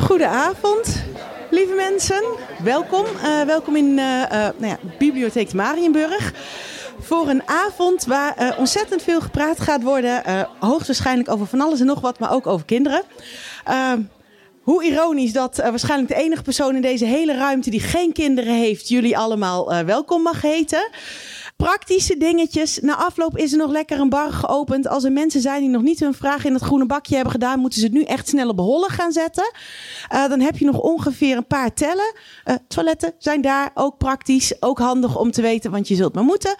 Goedenavond, lieve mensen. Welkom. Eh, welkom in eh, eh, nou ja, Bibliotheek Marienburg. Voor een avond waar eh, ontzettend veel gepraat gaat worden. eh, hoogstwaarschijnlijk over van alles en nog wat, maar ook over kinderen. Eh, hoe ironisch dat eh, waarschijnlijk de enige persoon in deze hele ruimte die geen kinderen heeft, jullie allemaal eh, welkom mag heten. Praktische dingetjes. Na afloop is er nog lekker een bar geopend. Als er mensen zijn die nog niet hun vraag in het groene bakje hebben gedaan, moeten ze het nu echt snel op hollen gaan zetten. Eh, dan heb je nog ongeveer een paar tellen. Eh, toiletten zijn daar ook praktisch, ook handig om te weten, want je zult maar moeten.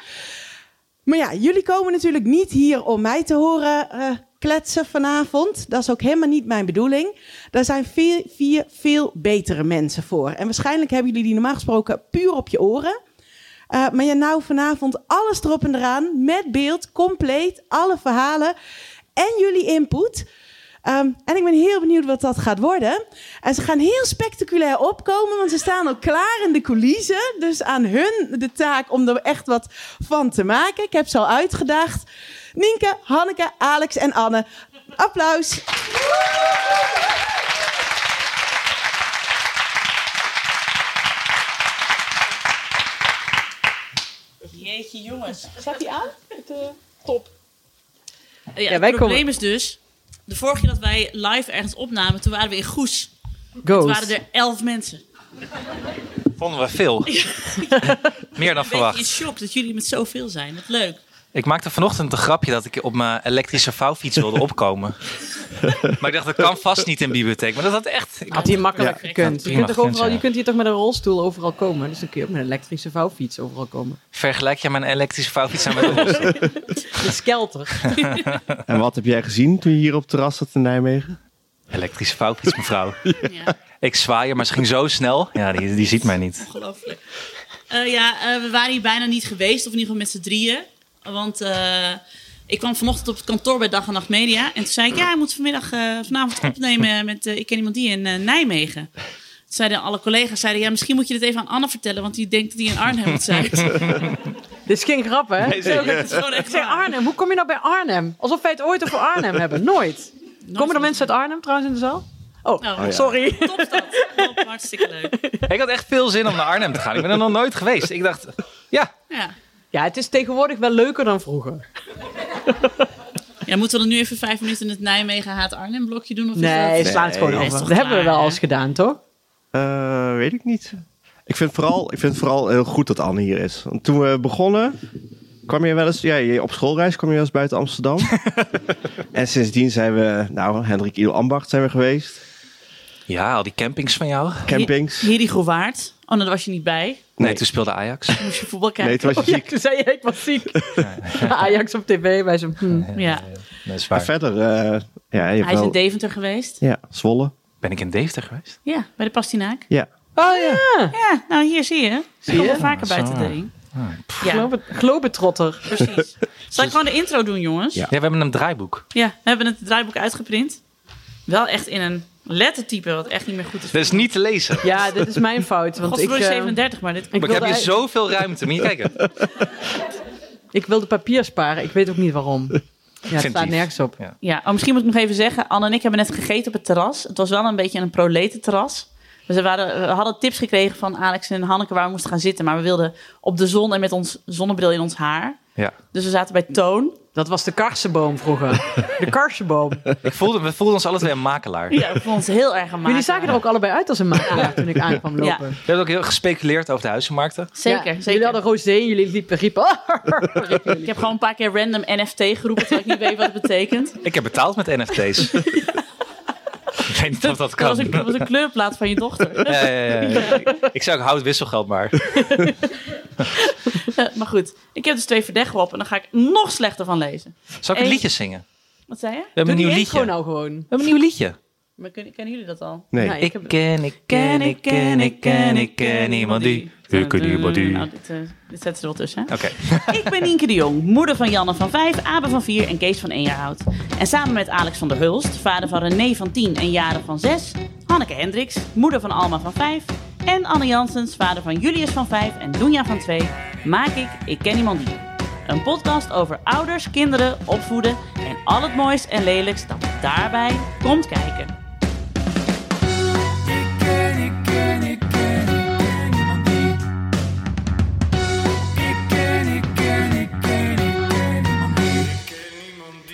Maar ja, jullie komen natuurlijk niet hier om mij te horen eh, kletsen vanavond. Dat is ook helemaal niet mijn bedoeling. Daar zijn veel, vier veel betere mensen voor. En waarschijnlijk hebben jullie die normaal gesproken puur op je oren. Eh, maar ja, nou vanavond alles erop en eraan. Met beeld, compleet, alle verhalen en jullie input. Ehm, en ik ben heel benieuwd wat dat gaat worden. En ze gaan heel spectaculair opkomen, want ze staan al klaar in de coulissen. Dus aan hun de taak om er echt wat van te maken. Ik heb ze al uitgedaagd. Nienke, Hanneke, Alex en Anne. Applaus. Jeetje jongens. Staat die aan? Het, eh, top. Ja, wij het probleem komen- is dus, de vorige keer dat wij live ergens opnamen, toen waren we in Goes. Toen Ghost. waren er elf mensen. Vonden we veel. Meer dan Een beetje in verwacht. shock dat jullie met zoveel zijn. Wat leuk. Ik maakte vanochtend een grapje dat ik op mijn elektrische vouwfiets wilde opkomen. maar ik dacht, dat kan vast niet in bibliotheek. Maar dat had echt... ik- Had hij makkelijk Ja, gekund. Je prima kunt, toch gekund, overal, ja. je kunt hier toch met een rolstoel overal komen. Dus dan kun je ook met een elektrische vouwfiets overal komen. Vergelijk je mijn elektrische vouwfiets aan mijn rolstoel? De skelter. En wat heb jij gezien toen je hier op het terras zat in Nijmegen? Elektrische vouwfiets, mevrouw. Ja, Ik zwaai er, maar ze ging zo snel. Ja, die, die ziet mij niet. ongelooflijk. Eh, ja, eh, we waren hier bijna niet geweest, of in ieder geval met z'n drieën. Want eh, ik kwam vanochtend op het kantoor bij Dag en Nacht Media. En toen zei ik, ja, ik moet vanmiddag, eh, vanavond opnemen met eh, Ik Ken Iemand Die in eh, Nijmegen. Toen zeiden alle collega's, zeiden, ja, misschien moet je dit even aan Anne vertellen, want die denkt dat hij in Arnhem moet zijn. Dit is geen grap, hè? Zo, dat is gewoon echt Ik zeg waar. Arnhem. Hoe kom je nou bij Arnhem? Alsof wij het ooit over Arnhem hebben. Nooit. Komen er van- mensen uit Arnhem trouwens in de zaal? Oh, Oh, ja. sorry. Topstad. Top, hartstikke leuk. Ik had echt veel zin om naar Arnhem te gaan. Ik ben er nog nooit geweest. Ik dacht, ja, Ja. Ja, het is tegenwoordig wel leuker dan vroeger. ja, moeten we dan nu even vijf minuten het Nijmegen haat Arnhem blokje doen? Of is Nee, dat... sla het gewoon Nee, over. is toch Dat hebben we klaar, wel hè? eens gedaan, toch? Eh, weet ik niet. Ik vind, vooral, ik vind vooral heel goed dat Anne hier is. Want toen we begonnen, kwam je wel eens... Ja, je- op schoolreis kwam je wel eens buiten Amsterdam. en sindsdien zijn we... Nou, Hendrik Iel Ambacht zijn we geweest. ja, al die campings van jou. Campings. Heri Groewaard. Oh, daar was je niet bij. Nee, Nee. toen speelde Ajax. Moest je voetbal Nee, kijken. toen was je Oh, Ja, ziek. toen zei je, ik was ziek. Ajax op tv bij zo'n... hm. ja. Dat is Maar waar. verder, eh, ja, je hebt Hij is in wel... Deventer geweest. Ja, Zwolle. Ben ik in Deventer geweest? Ja, bij de Pastinaak. Ja. Oh ja, Ja, nou hier zie je. Ze Zie komen je? vaker Ah, buiten zo. de ring. Ja, Globe- globetrotter. precies. Zal ik gewoon de intro doen, jongens? Ja, we hebben een draaiboek. Ja, we hebben het draaiboek uitgeprint. Wel echt in een lettertype, wat echt niet meer goed is. Dat is niet te lezen. Ja, dit is mijn fout. Want ik, Godverdomme eh, 37, maar dit... ik Maar ik heb wilde, hier eigenlijk- zoveel ruimte. Moet je kijken. ik wilde papier sparen. Ik weet ook niet waarom. Ja, het staat Inventief. nergens op. Ja, oh, misschien moet ik nog even zeggen. Anne en ik hebben net gegeten op het terras. Het was wel een beetje een proletenterras. We, ze waren, we hadden tips gekregen van Alex en Hanneke waar we moesten gaan zitten. Maar we wilden op de zon en met ons zonnebril in ons haar. Ja. Dus we zaten bij Toon. Dat was de karsenboom vroeger. De karsenboom. Ik voelde, we voelden ons alle twee een makelaar. Ja, we vonden ons heel erg aan Jullie zagen er ook allebei uit als een makelaar toen ik aankwam Ja. lopen. We hebben ook heel gespeculeerd over de huizenmarkten. Zeker, Ja, zeker. Jullie hadden rosé en jullie liepen riepen. Ik heb gewoon een paar keer random NFT geroepen, terwijl ik niet weet wat het betekent. Ik heb betaald met NFT's. ik weet niet of dat Dat kan. was een, dat was een kleurplaat van je dochter. Ja, ja, ja, ja. Ik zou ook hout wisselgeld maar. Eh, maar goed, ik heb dus twee verdeggen op en dan ga ik nog slechter van lezen. Zal ik een Hey. liedje zingen? We Wat zei je? hebben een nieuw gewoon liedje. We nou gewoon. hebben een nieuw liedje. Maar kunnen, kennen jullie dat al? Nee. Nee. Ik Ik heb- ken, ik ken, ik ken, ik ken, ik ken iemand die. Ik ken iemand die. Nou, dit, eh, dit zetten ze er wel tussen. hè? Oké. Ik ben Nienke de Jong, moeder van Janne van 5, Abe van 4 en Kees van 1 jaar oud. En samen met Alex van der Hulst, vader van René van 10 en Jaren van 6, Hanneke Hendricks, moeder van Alma van 5 en Anne Jansens, vader van Julius van 5 en Doenja van 2, maak ik Ik Ken Iemand Die. Een podcast over ouders, kinderen, opvoeden en al het moois en lelijks dat daarbij komt kijken.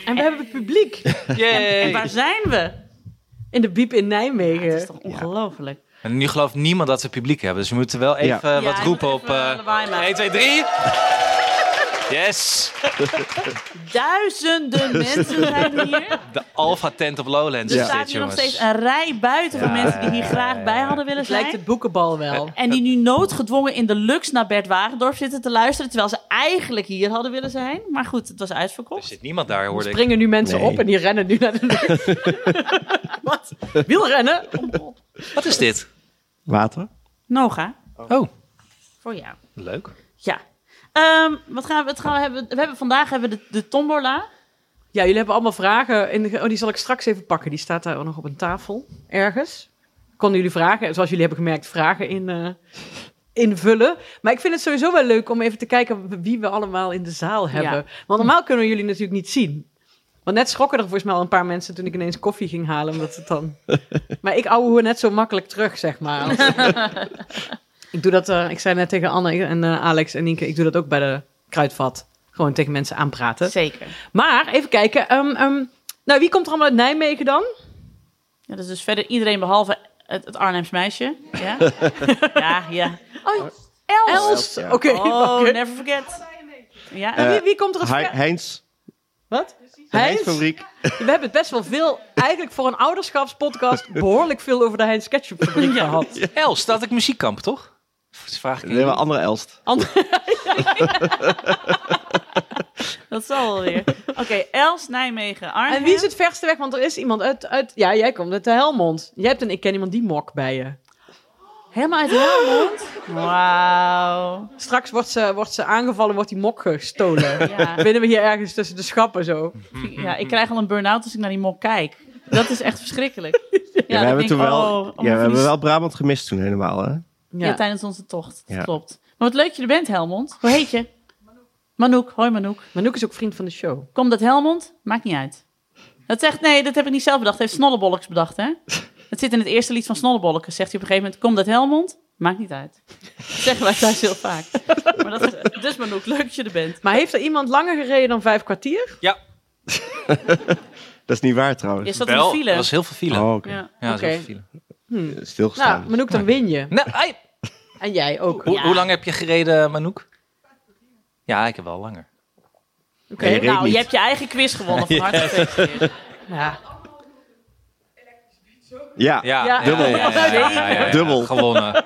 En we hebben het publiek En waar zijn we? in de Biep in Ja, het is Nijmegen. toch ongelooflijk. En nu gelooft niemand dat ze publiek hebben. Dus we moeten wel even eh, Ja, wat je roepen moet op... even eh lawaai maken. 1, 2, 3. Yes. Duizenden mensen zijn hier. De Alpha Tent op Lowlands Er is staat dit, hier nog jongens. steeds een rij buiten van mensen die hier graag bij hadden willen Het lijkt zijn. het boekenbal wel. En die nu noodgedwongen in de luxe naar Bert Wagendorp zitten te luisteren. Terwijl ze eigenlijk hier hadden willen zijn. Maar goed, het was Er uitverkocht. zit niemand daar, Er hoorde ik. springen nu mensen Nee. op en die rennen nu naar de lucht. Wat? Wielrennen? Wat is dit? Water? Noga, Oh, voor jou. leuk. Ja. Ehm, wat gaan we, wat gaan we hebben? We hebben vandaag hebben we de, de tombola. Ja, jullie hebben allemaal vragen. In de- oh, die zal ik straks even pakken. Die staat daar ook nog op een tafel ergens. Konden jullie vragen, zoals jullie hebben gemerkt, vragen in, eh, invullen. Maar ik vind het sowieso wel leuk om even te kijken wie we allemaal in de zaal hebben. Ja. Want normaal kunnen we jullie natuurlijk niet zien. Want net schrokken er volgens mij al een paar mensen toen ik ineens koffie ging halen. Omdat het dan... maar ik ouwe hoe net zo makkelijk terug, zeg maar. ik doe dat, eh, ik zei net tegen Anne en eh, Alex en Nienke, ik doe dat ook bij de kruidvat. Gewoon tegen mensen aanpraten. Zeker. Maar even kijken. ehm, ehm, nou, wie komt er allemaal uit Nijmegen dan? Ja, dat is dus verder iedereen behalve het, het Arnhems meisje. Ja, ja. ja. Oh, Els. Els. ja. Oké. Oh, oké. never forget. Ja, En Eh, wie, wie komt er het Hei- Heinz. Wat? De Heinz? Heinz-fabriek. We hebben best wel veel, eigenlijk voor een ouderschapspodcast, behoorlijk veel over de Heinz Ketchup fabriek gehad. Els, staat ik muziekkamp, toch? Dat vraag ik Nee, maar aan andere Elst. dat zal wel weer. Oké, Els, Nijmegen, Arnhem. En wie is het verste weg? Want er is iemand uit, uit ja, jij komt uit de Helmond. Jij hebt een Ik Ken Iemand Die mok bij je. Helemaal uit Helmond. Wauw. Straks wordt ze, wordt ze aangevallen, wordt die mok gestolen. Ja. Vinden we hier ergens tussen de schappen zo. ja, ik krijg al een burn-out als ik naar die mok kijk. Dat is echt verschrikkelijk. Ja, Ja, dan we hebben denk toen ik, wel, oh, allemaal ja, we van die hebben wel Brabant gemist toen helemaal, hè? Ja. tijdens onze tocht. Dat Ja. klopt. Maar wat leuk je er bent, Helmond. Hoe heet je? Manouk. Hoi Manouk. Manouk is ook vriend van de show. Komt dat Helmond? Maakt niet uit. Dat zegt, nee, dat heb ik niet zelf bedacht. Dat heeft Snollebolleks bedacht, hè? Dat zit in het eerste lied van Snollebolleks. Zegt hij op een gegeven moment, komt dat Helmond? Maakt niet uit. Dat zeggen wij thuis heel vaak. Maar dat is, dus Manouk, leuk dat je er bent. Maar heeft er iemand langer gereden dan vijf kwartier? Dat is niet waar trouwens. Je zat in Wel, de er file. was heel veel file. Oh, oké. Ja. Ja, er was heel Oké. veel file. Stilgestaan. Nou, Manouk, dan win je. Nou, ai, En jij ook. hoe, Ja. hoe lang heb je gereden, Manouk? Ja, ik heb wel langer. Oké. Nee, je reed Nou, niet. je hebt je eigen quiz gewonnen. Van harte gefeliciteerd. Ja. Ja. Ja, Ja. Dubbel. Dubbel. Gewonnen.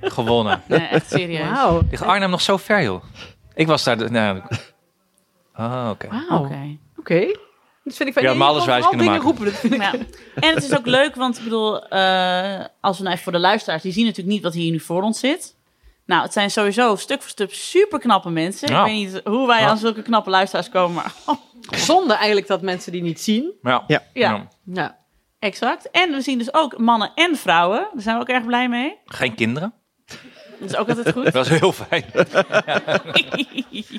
Gewonnen. Nee, echt serieus. Wauw. Ligt Arnhem nog zo ver, joh? Ik was daar... de- nou, ah, oké. Wauw. Oké. Oké. Dat vind ik van Ja, je maar alles kan wijs vooral kunnen dingen roepen. Dat vind ik- Ja. En het is ook leuk, want ik bedoel, eh, als we nou even voor de luisteraars, die zien natuurlijk niet wat hier nu voor ons zit. Nou, het zijn sowieso stuk voor stuk super knappe mensen. Ja. Ik weet niet hoe wij Ja. aan zulke knappe luisteraars komen, maar Zonde eigenlijk dat mensen die niet zien. Ja. Ja. Ja. Ja. exact. En we zien dus ook mannen en vrouwen. Daar zijn we ook erg blij mee. Geen kinderen. Dat is ook altijd goed. Dat was heel fijn.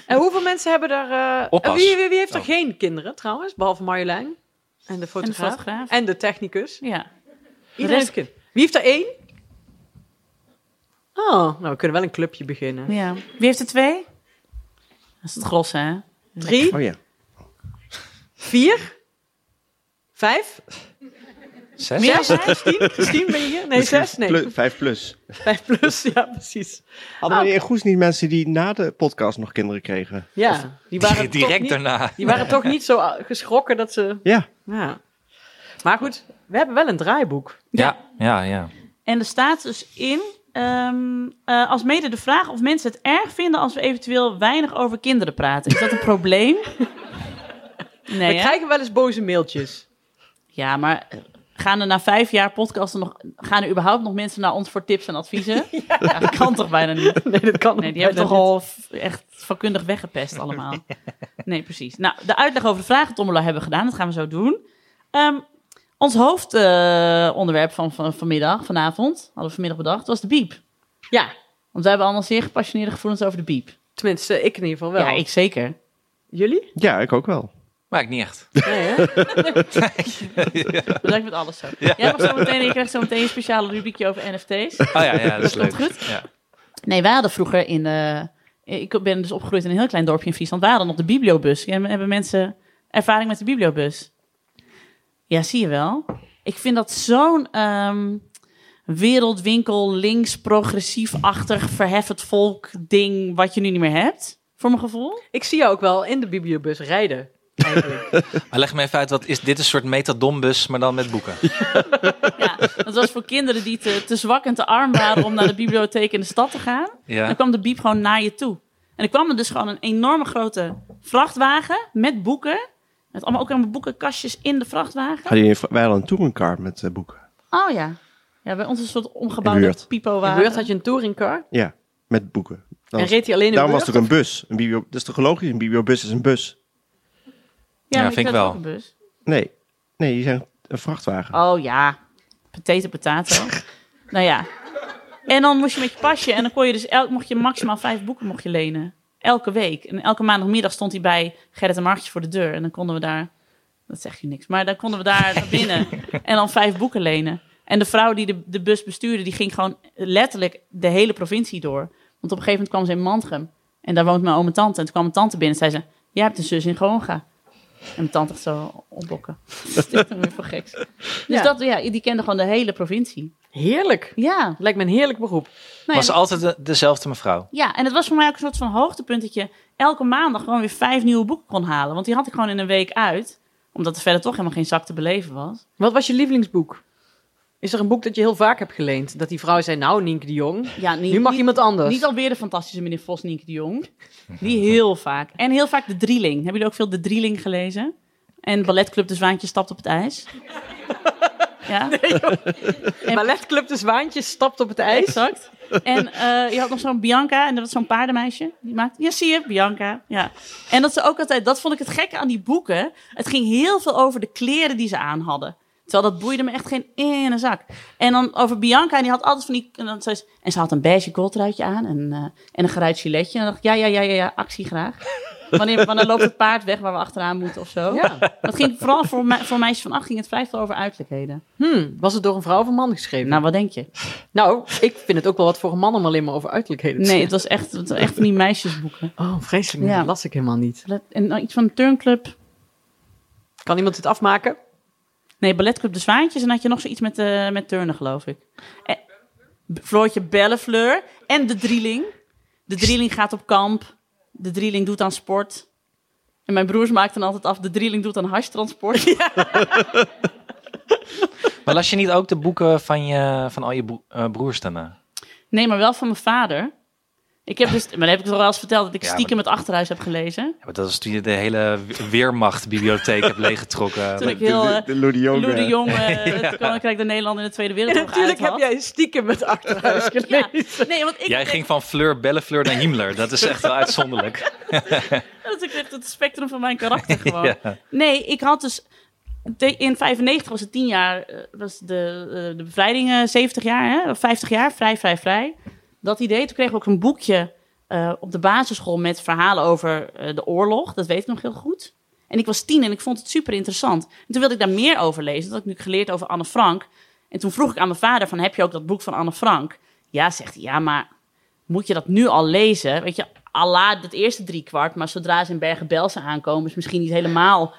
En hoeveel mensen hebben daar... eh, Oppas. en Wie, wie, wie heeft er Oh. geen kinderen trouwens? Behalve Marjolein. En de en de fotograaf. En de, fotograaf. technicus. Ja. Iedereen rest- heeft kind. Wie heeft er één? Oh, nou we kunnen wel een clubje beginnen. ja. Wie heeft er twee? Dat is het gros, hè? Drie, Oh ja. vier, vijf, Zes? Meer? zes, Christine. Christine ben je hier? Nee, Misschien zes? Nee, plu- vijf plus. vijf plus. Ja, precies. Hadden we in Goes niet mensen die na de podcast nog kinderen kregen? Ja, die waren Di- toch Direct niet- daarna. Die waren toch niet zo eh, geschrokken dat ze. Ja. Ja. Maar goed, we hebben wel een draaiboek. Ja, ja, ja. En er staat dus in, ehm, eh, als mede de vraag of mensen het erg vinden als we eventueel weinig over kinderen praten. Is dat een probleem? We Nee, hè? krijgen wel eens boze mailtjes. Ja, maar eh, gaan er na vijf jaar podcasten nog, gaan er überhaupt nog mensen naar ons voor tips en adviezen? ja. dat kan toch bijna niet? Nee, dat kan Nee, die bijna hebben toch niet. al f- echt vakkundig weggepest allemaal. Nee, precies. Nou, de uitleg over de vragentombola hebben we gedaan. Dat gaan we zo doen. Ehm, ons hoofdonderwerp van, van vanmiddag, vanavond, hadden we vanmiddag bedacht, was de biep. Ja, Want wij hebben allemaal zeer gepassioneerde gevoelens over de biep. Tenminste, ik in ieder geval wel. Ja, ik zeker. Jullie? Ja, ik ook wel. Maakt niet echt. Nee, hè? ja. Dat lijkt met alles zo. Jij mag zo meteen, je krijgt zo meteen een speciale rubriekje over NFT's. Oh ja, ja, dat is Dat leuk. komt Ja. Nee, wij hadden vroeger in... eh, ik ben dus opgegroeid in een heel klein dorpje in Friesland. Wij hadden op de bibliobus. Ja, Hebben mensen ervaring met de bibliobus? Ja, zie je wel. Ik vind dat zo'n ehm, wereldwinkel, links, progressief-achtig, verheffend volk ding... wat je nu niet meer hebt, voor mijn gevoel. ik zie jou ook wel in de bibliobus rijden. eigenlijk. Maar leg me even uit, wat is dit een soort metadombus, maar dan met boeken? Ja, dat was voor kinderen die te, te zwak en te arm waren... om naar de bibliotheek in de stad te gaan. Dan Ja. kwam de biep gewoon naar je toe. En er kwam er dus gewoon een enorme grote vrachtwagen met boeken. Met allemaal ook allemaal boekenkastjes in de vrachtwagen. Hadden jullie- Wij hadden een touringcar met eh, boeken. Oh ja. Ja, bij ons is een soort In omgebouwde Weert. pipo In wagen. Beurt had je een touringcar Ja, met boeken. Dan en reed hij alleen in Daarom was Beurt? het ook een bus. Een biblio- dat is toch logisch? Een bibliobus is een bus. maar Ja, vind ik zet wel. ook een bus. Nee, nee, die zijn een vrachtwagen. Oh ja. Potato, potato. nou ja. En dan moest je met je pasje. En dan kon je dus elk, mocht je maximaal vijf boeken mocht je lenen. Elke week. En elke maandagmiddag stond hij bij Gerrit en Martje voor de deur. En dan konden we daar... Dat zegt je niks. Maar dan konden we daar naar binnen. En dan vijf boeken lenen. En de vrouw die de, de bus bestuurde, die ging gewoon letterlijk de hele provincie door. Want op een gegeven moment kwam ze in Mantrum. En daar woont mijn oom en tante. En toen kwam mijn tante binnen en zei ze... Jij hebt een zus in Groningen. En mijn tante dacht zo opbokken. Dat is dit dan weer voor geks. Dus Ja. dat, ja, die kende gewoon de hele provincie. Heerlijk. Ja. Lijkt me een heerlijk beroep. Nou ja, Was altijd de- dezelfde mevrouw. ja, en het was voor mij ook een soort van hoogtepunt dat je elke maandag gewoon weer vijf nieuwe boeken kon halen. Want die had ik gewoon in een week uit. Omdat er verder toch helemaal geen zak te beleven was. Wat was je lievelingsboek? Is er een boek dat je heel vaak hebt geleend? Dat die vrouw zei, nou Nienke de Jong, Ja, niet, nu mag niet, iemand anders. niet alweer de fantastische meneer Vos, Nienke de Jong. Die heel vaak. En heel vaak De Drieling. Hebben jullie ook veel De Drieling gelezen? En Balletclub De Zwaantje stapt op het ijs. Ja. Balletclub De Zwaantje stapt op het ijs. Exact. En eh, je had nog zo'n Bianca, en dat was zo'n paardenmeisje. Die maakte, ja, zie je, Bianca. Ja. En dat ze ook altijd, dat vond ik het gekke aan die boeken. Het ging heel veel over de kleren die ze aan hadden. Terwijl dat boeide me echt geen ene zak. En dan over Bianca, en die had altijd van die... En, dan zei ze, en ze had een beige goldraadje aan en, eh, en een geruit giletje. En dan dacht ik, ja, ja, ja, ja, ja actie graag. Wanneer, wanneer loopt het paard weg waar we achteraan moeten of zo. Ja. Dat ging vooral voor, me, voor meisjes van acht, ging het vrij veel over uiterlijkheden. Hmm, was het door een vrouw of een man geschreven? Nou, wat denk je? Nou, ik vind het ook wel wat voor een man om alleen maar over uiterlijkheden te Nee, het was echt, het was echt van die meisjesboeken. zeggen. Oh, vreselijk. nee, Ja. Dat las ik helemaal niet. Ballet- En dan iets van de turnclub. Kan iemand dit afmaken? Nee, balletclub De Zwaantjes. En had je nog zoiets met, eh, met turnen, geloof ik. En, B- Floortje Bellefleur. En de drieling. De drieling gaat op kamp. De drieling doet aan sport. En mijn broers maakten altijd af, de drieling doet aan hashtransport. Ja. Maar las je niet ook de boeken van, je, van al je bro- eh, broers daarna? Nee, maar wel van mijn vader. Ik heb dus, maar dat heb ik toch wel eens verteld, dat ik Ja, maar- stiekem het Achterhuis heb gelezen. Ja, maar dat is toen je de hele Weermachtbibliotheek hebt leeggetrokken. Toen ik heel eh, de Lou de Jong, Lou de eh, Jong, eh, het Koninkrijk der Nederlanden in de Tweede Wereldoorlog uit had. stiekem met achterhuis Ja. Nee, want ik Jij ging van Fleur Bellefleur naar Himmler. Dat is echt wel uitzonderlijk. Dat is ook echt het spectrum van mijn karakter gewoon. Ja. Nee, ik had dus... te- In 95 was het 10 jaar, eh, was de, eh, de bevrijding eh, 70 jaar, hè? Of 50 jaar, vrij, vrij, vrij. Dat idee. Toen kreeg ik ook een boekje eh, op de basisschool met verhalen over eh, de oorlog. Dat weet ik nog heel goed. En ik was tien en ik vond het super interessant. En toen wilde ik daar meer over lezen. Dat had ik nu geleerd over Anne Frank. En toen vroeg ik aan mijn vader van, heb je ook dat boek van Anne Frank? Ja, zegt hij, ja, maar moet je dat nu al lezen? Weet je, Allah dat eerste driekwart, maar zodra ze in Bergen-Belsen aankomen, is misschien niet helemaal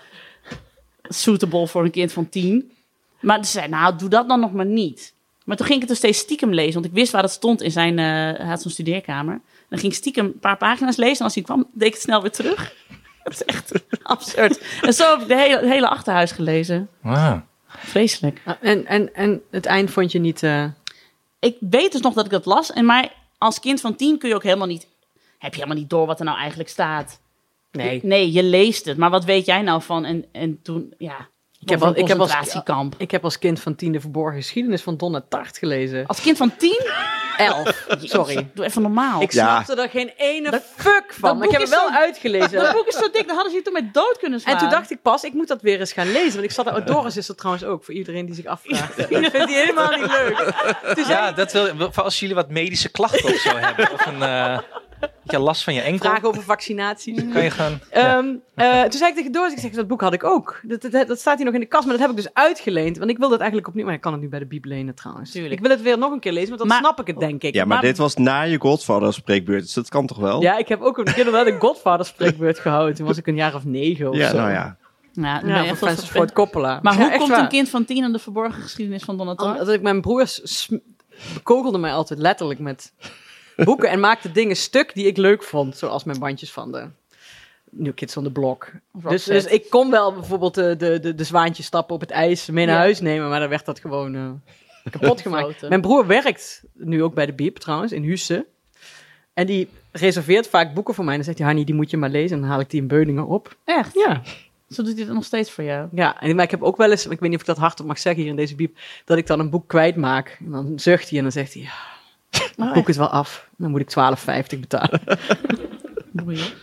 suitable voor een kind van tien. Maar ze zei, nou, doe dat dan nog maar niet. Maar toen ging ik het dus steeds stiekem lezen, want ik wist waar dat stond in zijn, eh, hij had zo'n studeerkamer. En dan ging ik stiekem een paar pagina's lezen en als hij kwam, deed ik het snel weer terug. Dat is echt absurd. En zo heb ik de hele, het hele achterhuis gelezen. Wauw. Vreselijk. En, en, en het eind vond je niet... eh, ik weet dus nog dat ik dat las. En maar als kind van tien kun je ook helemaal niet... Heb je helemaal niet door wat er nou eigenlijk staat. Nee. Nee, je leest het. Maar wat weet jij nou van? En, en toen, ja... Ik heb heb al- een ik heb als- concentratiekamp. Ik heb als kind van tien de verborgen geschiedenis van Donna Tart gelezen. Als kind van tien? Elf. Sorry. Doe even normaal. Ik Ja. snapte er geen ene fuck dat van. Maar ik boek heb het is wel zo- dat uitgelezen. boek is zo dik, dan hadden ze je toen met dood kunnen slaan. En toen dacht ik pas, ik moet dat weer eens gaan lezen. Want ik zat er... Doris is dat trouwens ook, voor iedereen die zich afvraagt. Ik vind die helemaal niet leuk. Ja, dat wil, voor als jullie wat medische klachten of zo hebben. Of een, eh, je last van je enkel? Vragen over vaccinaties. Kan je gaan... Ehm, eh, toen zei ik tegen Doris, ik zeg, dat boek had ik ook. Dat, dat, dat staat hier nog in de kast, maar dat heb ik dus uitgeleend. Want ik wil dat eigenlijk opnieuw, maar ik kan het nu bij de Bib lenen trouwens. Tuurlijk. Ik wil het weer nog een keer lezen, want dan Maar- snap ik het denk ik. Ja, maar, dit was na je Godfather spreekbeurt, dus dat kan toch wel? Ja, ik heb ook een keer wel een Godfather spreekbeurt gehouden. Toen was ik een jaar of negen of Ja, zo. nou ja. Ja, dan ben je Ja, van echt wel Francis vervelend. Ford Coppola. Maar Ja, hoe echt komt waar. Oh, een kind van tien aan de verborgen geschiedenis van Donatello? Omdat ik mijn broers sm- bekogelde mij altijd letterlijk met boeken en maakte dingen stuk die ik leuk vond, zoals mijn bandjes van de New Kids on the Block. Dus, Roxette. dus ik kon wel bijvoorbeeld de, de, de, de zwaantjes stappen op het ijs mee naar Ja. huis nemen, maar dan werd dat gewoon eh, kapot gemaakt. Gefloten. Mijn broer werkt nu ook bij de Biep trouwens, in Husse. En die reserveert vaak boeken voor mij. En dan zegt hij, Hanni, die moet je maar lezen. En dan haal ik die in Beuningen op. Echt? Ja. Zo doet hij dat nog steeds voor jou. Ja, en, maar ik heb ook wel eens, ik weet niet of ik dat hardop mag zeggen hier in deze biep, dat ik dan een boek kwijtmaak. En dan zucht hij en dan zegt hij, ja, Oh, het boek is wel af. Dan moet ik 12,50 betalen.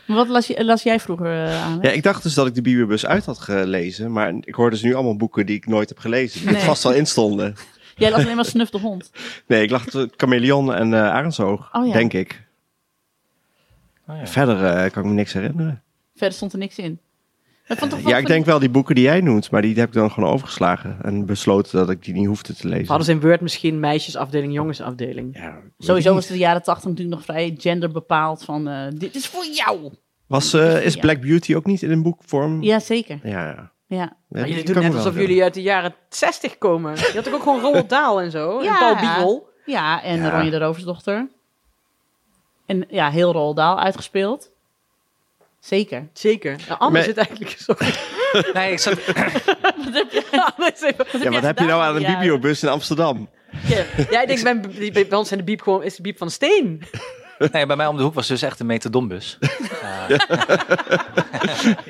Maar wat las, je, las jij vroeger eh, aan? Ja, ik dacht dus dat ik de Bibelbus uit had gelezen, maar ik hoor dus nu allemaal boeken die ik nooit heb gelezen, die Nee. er vast wel in stonden. Jij las alleen maar Snuf de Hond. Nee, ik lag tussen Chameleon en eh Arendshoog, Oh ja. denk ik. Oh ja. Verder eh, kan ik me niks herinneren. Verder stond er niks in. Dat vond toch wel Ja, ik van- denk wel die boeken die jij noemt, maar die heb ik dan gewoon overgeslagen en besloten dat ik die niet hoefde te lezen. Hadden ze in Word misschien meisjesafdeling, jongensafdeling. Ja, weet Sowieso ik was niet. het de jaren tachtig natuurlijk nog vrij gender bepaald van eh, dit is voor jou. Was, eh, is Ja. Black Beauty ook niet in een boekvorm? Ja, zeker. Ja, ja. Ja. Ja, Maar jullie die doen kan net ik wel alsof vinden. jullie uit de jaren 60 komen. Je had toch ook gewoon Roald Dahl en zo? Ja. En Paul Biegel. Ja, en Ja. Ronja de Roversdochter. En ja, heel Roald Dahl uitgespeeld. Zeker. Zeker. Nou, Anne Maar- zit eigenlijk... Sorry. Nee, ik zat... Anne is even- Ja, wat heb je nou aan een Ja. bibliobus in Amsterdam? ja, ik denk, bij, bij- bij ons zijn de biep gewoon, is de biep van steen. nee, bij mij om de hoek was dus echt een metadonbus. Eh,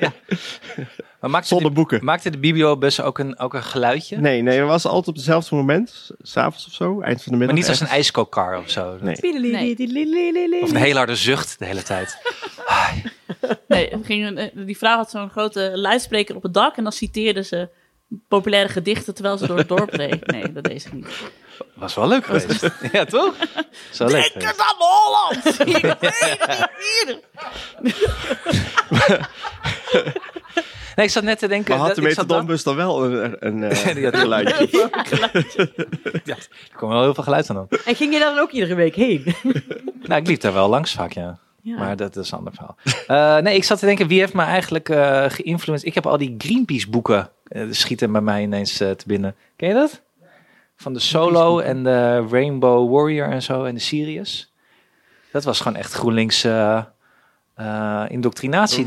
ja. Maar maakte Zonder de, boeken. maakte de bibliobus ook een, ook een geluidje? Nee, nee, we was altijd op hetzelfde moment, s'avonds of zo, eind van de middag. Maar niet als een echt. ijskokar of zo. Nee. Of een hele harde zucht de hele tijd. Nee, er ging een- eh, die vrouw had zo'n grote luidspreker op het dak en dan citeerde ze populaire gedichten terwijl ze door het dorp reed. Nee, dat deed ze niet. Was wel leuk geweest. ja, toch? Is wel Denk leuk geweest. eens aan Holland! Ik weet het niet meer. Nee, ik zat net te denken... Maar had dat- de ik zat dan- metadonbus dan wel een, een, eh, Die had- geluidje? Ja, er kwam wel heel veel geluid aan. op. En ging je daar dan ook iedere week heen? Nou, ik liep daar wel langs vaak, ja. Ja. Maar dat is een ander verhaal. Eh, nee, ik zat te denken, wie heeft me eigenlijk eh geïnfluenced? Ik heb al die Greenpeace boeken eh, schieten bij mij ineens eh, te binnen. Ken je dat? Van de Solo en de Rainbow Warrior en zo en de Sirius. Dat was gewoon echt GroenLinks eh, eh, indoctrinatie.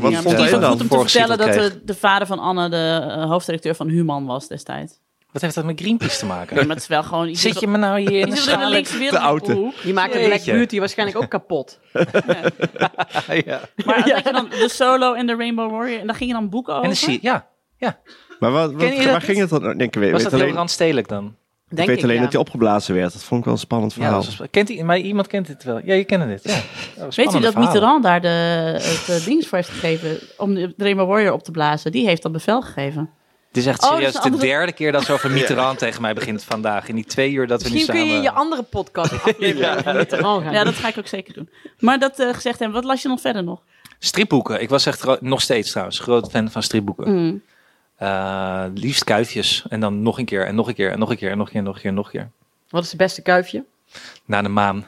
Wat die Ja, ik, vond maar het eh, hij is wel dan? goed om te voorgeschoteld vertellen dat kreeg. de, de vader van Anne de eh, hoofdredacteur van Human was destijds. Wat heeft dat met Greenpeace te maken? Nee, maar het is wel gewoon iets Zit je me nou hier in in de de schaal? linkse wereld Te oud, hè? hoek. Die maakte Jeetje. Black Beauty waarschijnlijk ook kapot. Ja. Maar dat je dan de solo en de Rainbow Warrior en daar ging je dan boeken over. En de Siri- ja. Maar wat, wat, Ken je dat waar ging het dan? Nee, Ik weet, Was weet dat heel alleen, randstedelijk dan? ik Denk weet alleen ja. dat hij opgeblazen werd. Dat vond ik wel een spannend Ja, verhaal. dat was- kent i- maar iemand kent dit wel. Ja, je kent het. Ja. Weet u Spannende dat verhalen. Mitterrand daar de, het eh, ding voor heeft gegeven om de Rainbow Warrior op te blazen? Die heeft dat bevel gegeven. Het is echt Oh, dat serieus is een de andere- derde keer dat ze over Mitterrand tegen mij begint vandaag. In die twee uur dat we Misschien nu kun je in samen... je andere podcast een aflevering van Mitterrand gaan. Ja, dat ga ik ook zeker doen. Maar dat eh, gezegd hebben, wat las je nog verder nog? Stripboeken. Ik was echt gro- nog steeds trouwens groot fan van stripboeken. Mm. Eh, liefst kuifjes. En dan nog een keer en nog een keer en nog een keer en nog een keer en nog een keer en nog een keer. Wat is het beste kuifje? Naar de maan.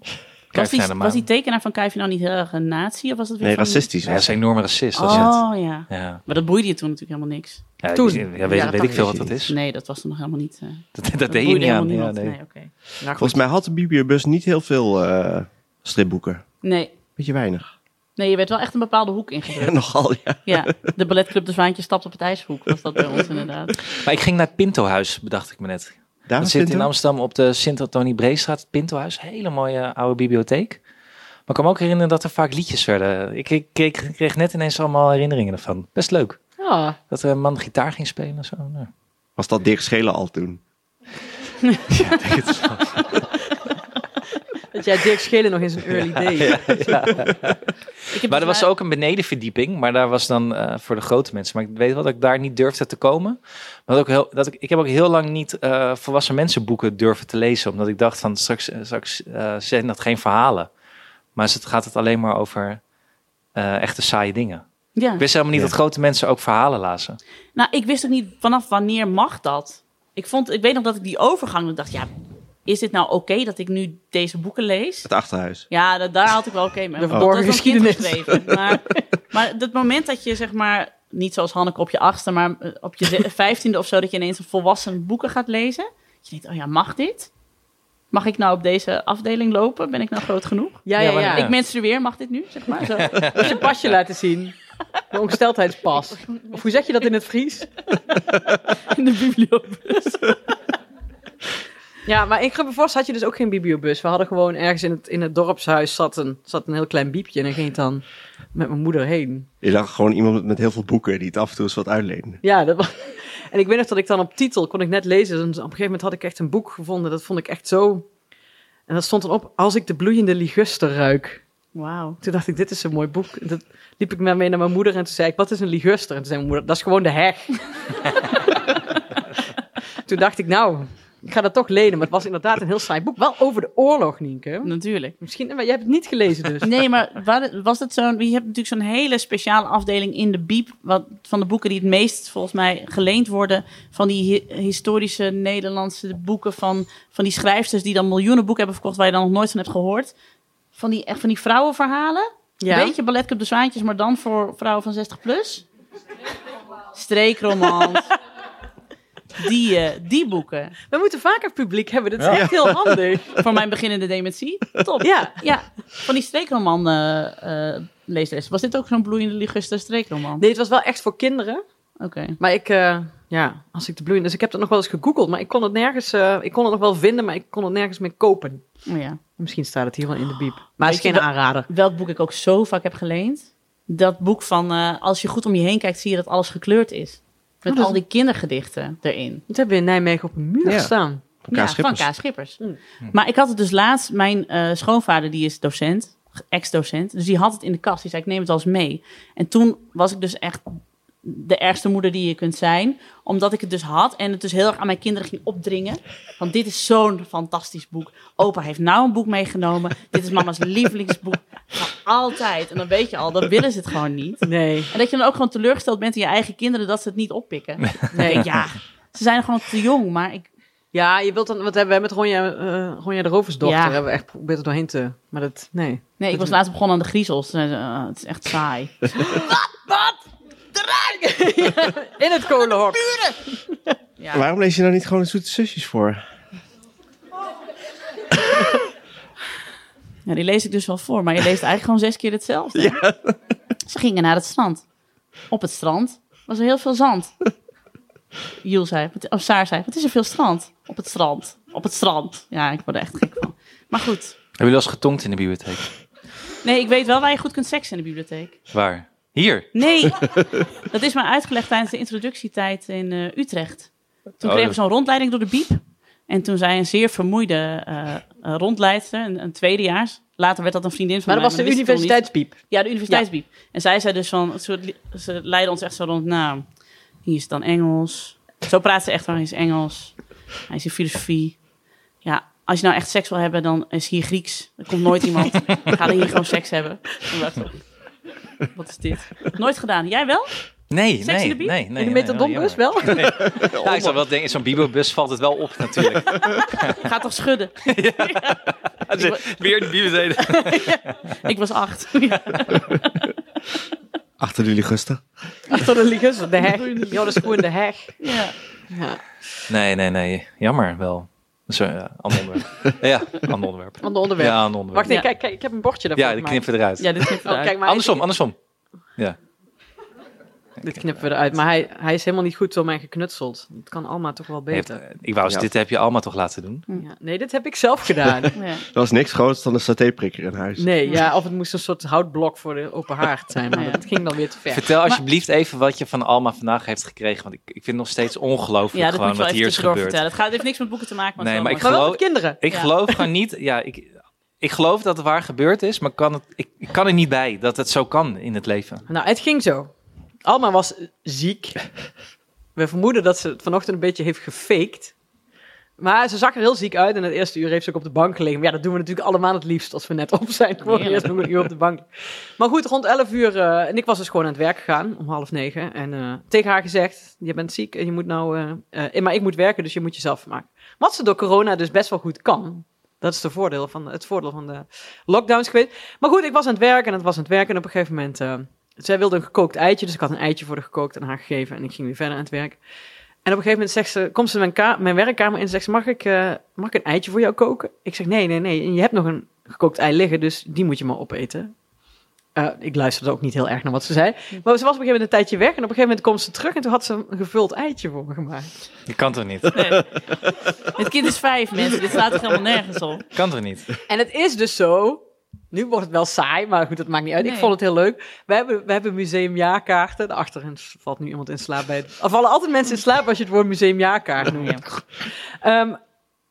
Was, Kuifje die, naar de maan. was die tekenaar van Kuifje nou niet heel erg een nazi? Of was dat weer Nee, van- racistisch. Ja, dat is een enorme racist. Dat is het. Oh ja. Ja. Maar dat boeide je toen natuurlijk helemaal niks. Ja, ja, Toen. weet, Ja, dat weet ik veel dacht wat ik. dat is. Nee, dat was toen nog helemaal niet. eh, Dat, dat dat deed je boeide niet helemaal aan. Ja, niemand. nee. nee. oké. Volgens mij had de bibliobus niet heel veel eh, stripboeken. nee. Beetje weinig. Nee, je werd wel echt een bepaalde hoek ingedrukt. En nogal, ja. Ja, de balletclub De Zwaantje stapt op het ijshoek. Was dat bij ons inderdaad. Maar ik ging naar het Pintohuis, bedacht ik me net. Daar Dat was zit het in Amsterdam op de Sint-Antonie Breestraat, het Pintohuis. Hele mooie eh, oude bibliotheek. Maar ik kan me ook herinneren dat er vaak liedjes werden. Ik, ik, ik kreeg net ineens allemaal herinneringen ervan. Best leuk. Ja. Dat er een man gitaar ging spelen en zo. Nou, Was dat Dirk Schelen al toen? Dat jij Dirk Schelen nog in zijn early days. Ik heb Maar er dus was ook een benedenverdieping, maar daar was dan eh, voor de grote mensen. Maar ik weet wel dat ik daar niet durfde te komen. Maar dat ook heel, dat ik, ik heb ook heel lang niet eh, volwassen mensenboeken durven te lezen, omdat ik dacht van straks, eh, straks eh, zijn dat geen verhalen. Maar het gaat het alleen maar over eh, echte saaie dingen. Ja. Ik wist helemaal niet Ja. dat grote mensen ook verhalen lazen. Nou, ik wist ook niet vanaf wanneer mag dat. Ik, vond, ik weet nog dat ik die overgang dat ik dacht, ja, is dit nou oké dat ik nu deze boeken lees? Het achterhuis. Ja, da- daar had ik wel oké mee. De Want verborgen dat was nog geschiedenis. ingeschreven. Maar, maar dat moment dat je zeg maar, niet zoals Hanneke op je achtste, maar eh, op je ze- vijftiende of zo, dat je ineens een volwassen boeken gaat lezen. Dat je denkt, oh ja, mag dit? Mag ik nou op deze afdeling lopen? Ben ik nou groot genoeg? Ja, Ja, ja, maar- ja. Ja. Ik menstrueer, mag dit nu? Zeg maar, zo. Moet je pasje laten zien. De ongesteldheidspas. Of hoe zeg je dat in het Fries? In de bibliobus. Ja, maar in Grubbenvorst had je dus ook geen bibliobus. We hadden gewoon ergens in het, in het dorpshuis zat een, zat een heel klein biepje. En dan ging ik dan met mijn moeder heen. Je zag gewoon iemand met- met heel veel boeken die het af en toe eens wat uitleende. Ja, dat was... En ik weet nog dat ik dan op titel kon ik net lezen. En op een gegeven moment had ik echt een boek gevonden. Dat vond ik echt zo... En dat stond dan op, als ik de bloeiende liguster ruik. Wauw. Toen dacht ik, dit is een mooi boek. En dat liep ik maar mee naar mijn moeder en toen zei ik, wat is een liguster? En toen zei mijn moeder, dat is gewoon de heg. toen dacht ik, nou, ik ga dat toch lenen. Maar het was inderdaad een heel saai boek. Wel over de oorlog, Nienke. Natuurlijk. Misschien, maar jij hebt het niet gelezen dus. Nee, maar wa- was dat zo'n... Je hebt natuurlijk zo'n hele speciale afdeling in de biep... Wat, van de boeken die het meest volgens mij geleend worden... van die hi- historische Nederlandse boeken van, van die schrijfsters... die dan miljoenen boeken hebben verkocht... waar je dan nog nooit van hebt gehoord. Van die, echt van die vrouwenverhalen. Een beetje Ballet op de Zwaantjes... maar dan voor vrouwen van 60 plus. Streekromans. Die, eh, die boeken. We moeten vaker publiek hebben. Dat is echt heel handig. Voor mijn beginnende dementie. Top. Ja. Ja, van die streekroman eh, eh, leesles. Was dit ook zo'n bloeiende liguster streekroman? Nee, het was wel echt voor kinderen. Oké. Maar ik, eh, ja, als ik de bloeiende... Dus ik heb dat nog wel eens gegoogeld. Maar ik kon het nergens... eh, ik kon het nog wel vinden, maar ik kon het nergens meer kopen. Oh ja. Misschien staat het hier wel in de biep. Maar het is Weet je geen aanrader. Welk boek ik ook zo vaak heb geleend. Dat boek van eh, als je goed om je heen kijkt, zie je dat alles gekleurd is. Met Oh, dat is- al die kindergedichten erin. Dat hebben we in Nijmegen op een muur Ja. staan. Van Kaas ja, van Schippers. K. Schippers. Mm. Maar ik had het dus laatst, mijn eh, schoonvader die is docent, ex-docent. Dus die had het in de kast. Die zei, ik neem het als mee. En toen was ik dus echt de ergste moeder die je kunt zijn. Omdat ik het dus had en het dus heel erg aan mijn kinderen ging opdringen. Want dit is zo'n fantastisch boek. Opa heeft nou een boek meegenomen. Dit is mama's lievelingsboek. Van altijd. En dan weet je al, dan willen ze het gewoon niet. Nee. En dat je dan ook gewoon teleurgesteld bent in je eigen kinderen dat ze het niet oppikken. Nee, ja. Ze zijn gewoon te jong, maar ik, Ja, je wilt dan, want we hebben met Ronja, eh, Ronja de Roversdochter, Ja. hebben we echt geprobeerd er doorheen te, maar dat, nee. Nee, ik was laatst begonnen aan de griezels. Toen zei ze, "Ah, het is echt saai. In het kolenhok. Waarom lees je nou niet gewoon de zoete zusjes voor? Ja, die lees ik dus wel voor, maar je leest eigenlijk gewoon zes keer hetzelfde. Ze gingen naar het strand. Op het strand was er heel veel zand. Jules zei, wat- of Saar zei, wat is er veel strand? Op het strand. Op het strand. Ja, ik word er echt gek van. Maar goed. Hebben jullie wel eens getongd in de bibliotheek? Nee, ik weet wel waar je goed kunt seksen in de bibliotheek. Waar? Hier. Nee, dat is mij uitgelegd tijdens de introductietijd in eh, Utrecht. Toen Oh, kregen we dat- zo'n rondleiding door de biep. En toen zei een zeer vermoeide eh, eh, rondleidster, een, een tweedejaars. Later werd dat een vriendin van Maar dat was mij. de wist ik toen niet. universiteitspiep. Ja, de universiteitsbiep. En zij zei dus van, een soort li- ze leiden ons echt zo rond, nou, hier is dan Engels. Zo praat ze echt van, hier is Engels. Hij is in filosofie. Ja, als je nou echt seks wil hebben, dan is hier Grieks. Er komt nooit iemand. We gaan hier gewoon seks hebben. Toen dacht ik, Wat is dit? Nooit gedaan. Jij wel? Nee, Seks nee, in de Biep? nee, nee. in de nee, metadombus oh, wel? jammer. Ja, ik zou wel denken, in zo'n bibelbus valt het wel op natuurlijk. Ga toch schudden. dus Weer in de bibliotheek. Ik was acht. Ja. Achter jullie gusten. Achter de liggers, de heg. Ja, dat is gewoon de heg. Ja. Ja, Nee, nee, nee. Jammer wel. Zo, ja, eh, ander onderwerp. Ja, ander onderwerp. van de onderwerp. Ja, ander Wacht, onderwerp. nee, Ja. kijk, kijk, ik heb een bordje daarvoor Ja, die gemaakt. knippen we eruit. ja, dit knipt Oh, kijk, maar hij- andersom, andersom. Dit knippen we eruit, maar hij, hij is helemaal niet goed door mij geknutseld. Het kan allemaal toch wel Heeft- eh, beter. ik wou eens, Ja. dit heb je allemaal toch laten doen? Ja. Nee, dit heb ik zelf gedaan. Ja. Er was niks groters dan een satéprikker in huis. Nee, ja, of het moest een soort houtblok voor de open haard zijn, maar Ja. dat ging dan weer te ver. Vertel alsjeblieft even wat je van Alma vandaag heeft gekregen. Want ik, ik vind het nog steeds ongelooflijk Ja, dat moet gewoon je wel wat even hier is tussendoor gebeurd. vertellen. Het, gaat, het heeft niks met boeken te maken. Nee, het maar is wel Maar mooi. wel geloof- met kinderen. Ik Ja. geloof gewoon niet. Ja, ik, ik geloof dat het waar gebeurd is, maar kan het, ik, ik kan er niet bij dat het zo kan in het leven. Nou, het ging zo. Alma was eh, ziek. We vermoeden dat ze het vanochtend een beetje heeft gefaked. Maar ze zag er heel ziek uit en het eerste uur heeft ze ook op de bank gelegen. Maar ja, dat doen we natuurlijk allemaal het liefst als we net op zijn. Gewoon Heerlijk. eerst nog een uur op de bank. Maar goed, rond 11 uur, eh, en ik was dus gewoon aan het werk gegaan om half negen. En eh, tegen haar gezegd, je bent ziek en je moet nou, eh, eh, maar ik moet werken, dus je moet jezelf maken. Wat ze door corona dus best wel goed kan. Dat is de voordeel van, het voordeel van de lockdowns geweest. Maar goed, ik was aan het werk en het was aan het werk. En op een gegeven moment, eh, zij wilde een gekookt eitje. Dus ik had een eitje voor haar gekookt en haar gegeven. En ik ging weer verder aan het werk. En op een gegeven moment zegt ze, komt ze mijn, ka- mijn werkkamer in en zegt ze, mag ik, eh, mag ik een eitje voor jou koken? Ik zeg, nee, nee, nee. En je hebt nog een gekookt ei liggen, dus die moet je maar opeten. Eh, ik luisterde ook niet heel erg naar wat ze zei. Maar ze was op een gegeven moment een tijdje weg. En op een gegeven moment komt ze terug en toen had ze een gevuld eitje voor me gemaakt. Je kan toch niet? Het kind is vijf, mensen. Dit slaat toch helemaal nergens op. Kan toch niet? En het is dus zo... Nu wordt het wel saai, maar goed, dat maakt niet uit. Ik Nee. vond het heel leuk. We hebben, we hebben museumjaarkaarten. Daarachterin valt nu iemand in slaap bij het... Er vallen altijd mensen in slaap als je het woord museumjaarkaart noemt. Ehm,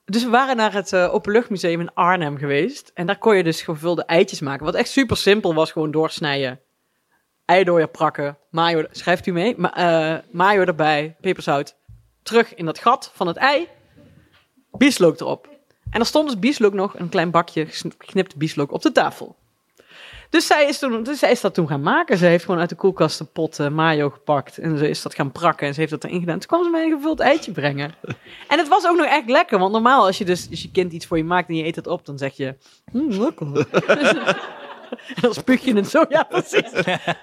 dus we waren naar het eh, Openluchtmuseum in Arnhem geweest. En daar kon je dus gevulde eitjes maken. Wat echt super simpel was, gewoon doorsnijden. Eidooien prakken, mayo, schrijft u mee, ma eh, mayo erbij, peperzout. Terug in dat gat van het ei, bieslook erop. En er stond dus bieslook nog, een klein bakje gesn- geknipt bieslook op de tafel. Dus zij, is toen, dus zij is dat toen gaan maken. Ze heeft gewoon uit de koelkast een pot eh, mayo gepakt. En ze is dat gaan prakken en ze heeft dat erin gedaan. Toen kwam ze mij een gevuld eitje brengen. En het was ook nog echt lekker. Want normaal, als je dus als je kind iets voor je maakt en je eet het op, dan zeg je... "Mm, lekker. en dan spuug je het zo, ja precies.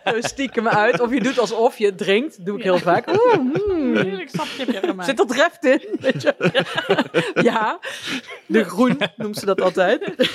Zo stiekem uit. Of je doet alsof je het drinkt. doe ik heel vaak. Oeh, mm, Heerlijk sapje heb je gemaakt. Zit dat reft in? Weet je? ja, de groen noemt ze dat altijd.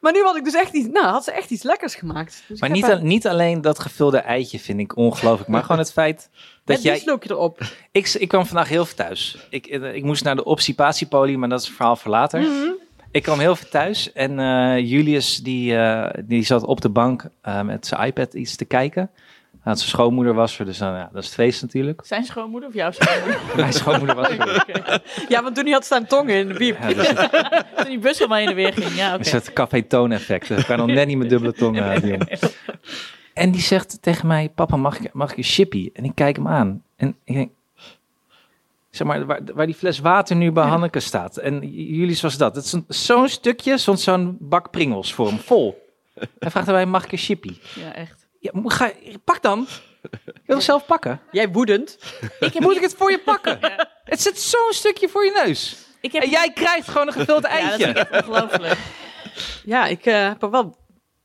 maar nu had ik dus echt iets, nou had ze echt iets lekkers gemaakt. Dus ik Maar heb niet, haar- al- niet alleen dat gevulde eitje vind ik ongelooflijk. Maar gewoon het feit dat het jij... bieslookje erop. Ik, ik kwam vandaag heel veel thuis. Ik, eh, ik moest naar de obstipatiepolie, maar dat is een verhaal voor later. Mhm. Ik kwam heel veel thuis en eh, Julius die, eh, die zat op de bank eh, met zijn iPad iets te kijken. Nou, zijn schoonmoeder was er, dus dan, ja, dat is het feest natuurlijk. Zijn schoonmoeder of jouw schoonmoeder? Mijn schoonmoeder was er. Ja, want toen hij had staan tongen in de biep. Ja, dat is, het- Toen die bus helemaal in de weer ging. Ja, dat oké. is het café toon effect. Ik kan nog net niet mijn dubbele tong eh, doen. En die zegt tegen mij, papa mag ik, mag ik een chippy? En ik kijk hem aan en ik denk, zeg maar, waar, waar die fles water nu bij Hanneke staat. En j- jullie zoals dat. Het is een- zo'n stukje, soms zo'n bak pringels voor hem, vol. Hij vraagt aan mij, mag ik een chippy? Ja, echt. Ja, mo- ga, pak dan. Ik wil het zelf pakken. Jij woedend. Ik heb, Moet ik het voor je pakken? Het zit zo'n stukje voor je neus. ik heb En jij krijgt gewoon een gevuld Ja, dat eitje. vind ik echt ongelooflijk. Ja, ik eh, heb haar wel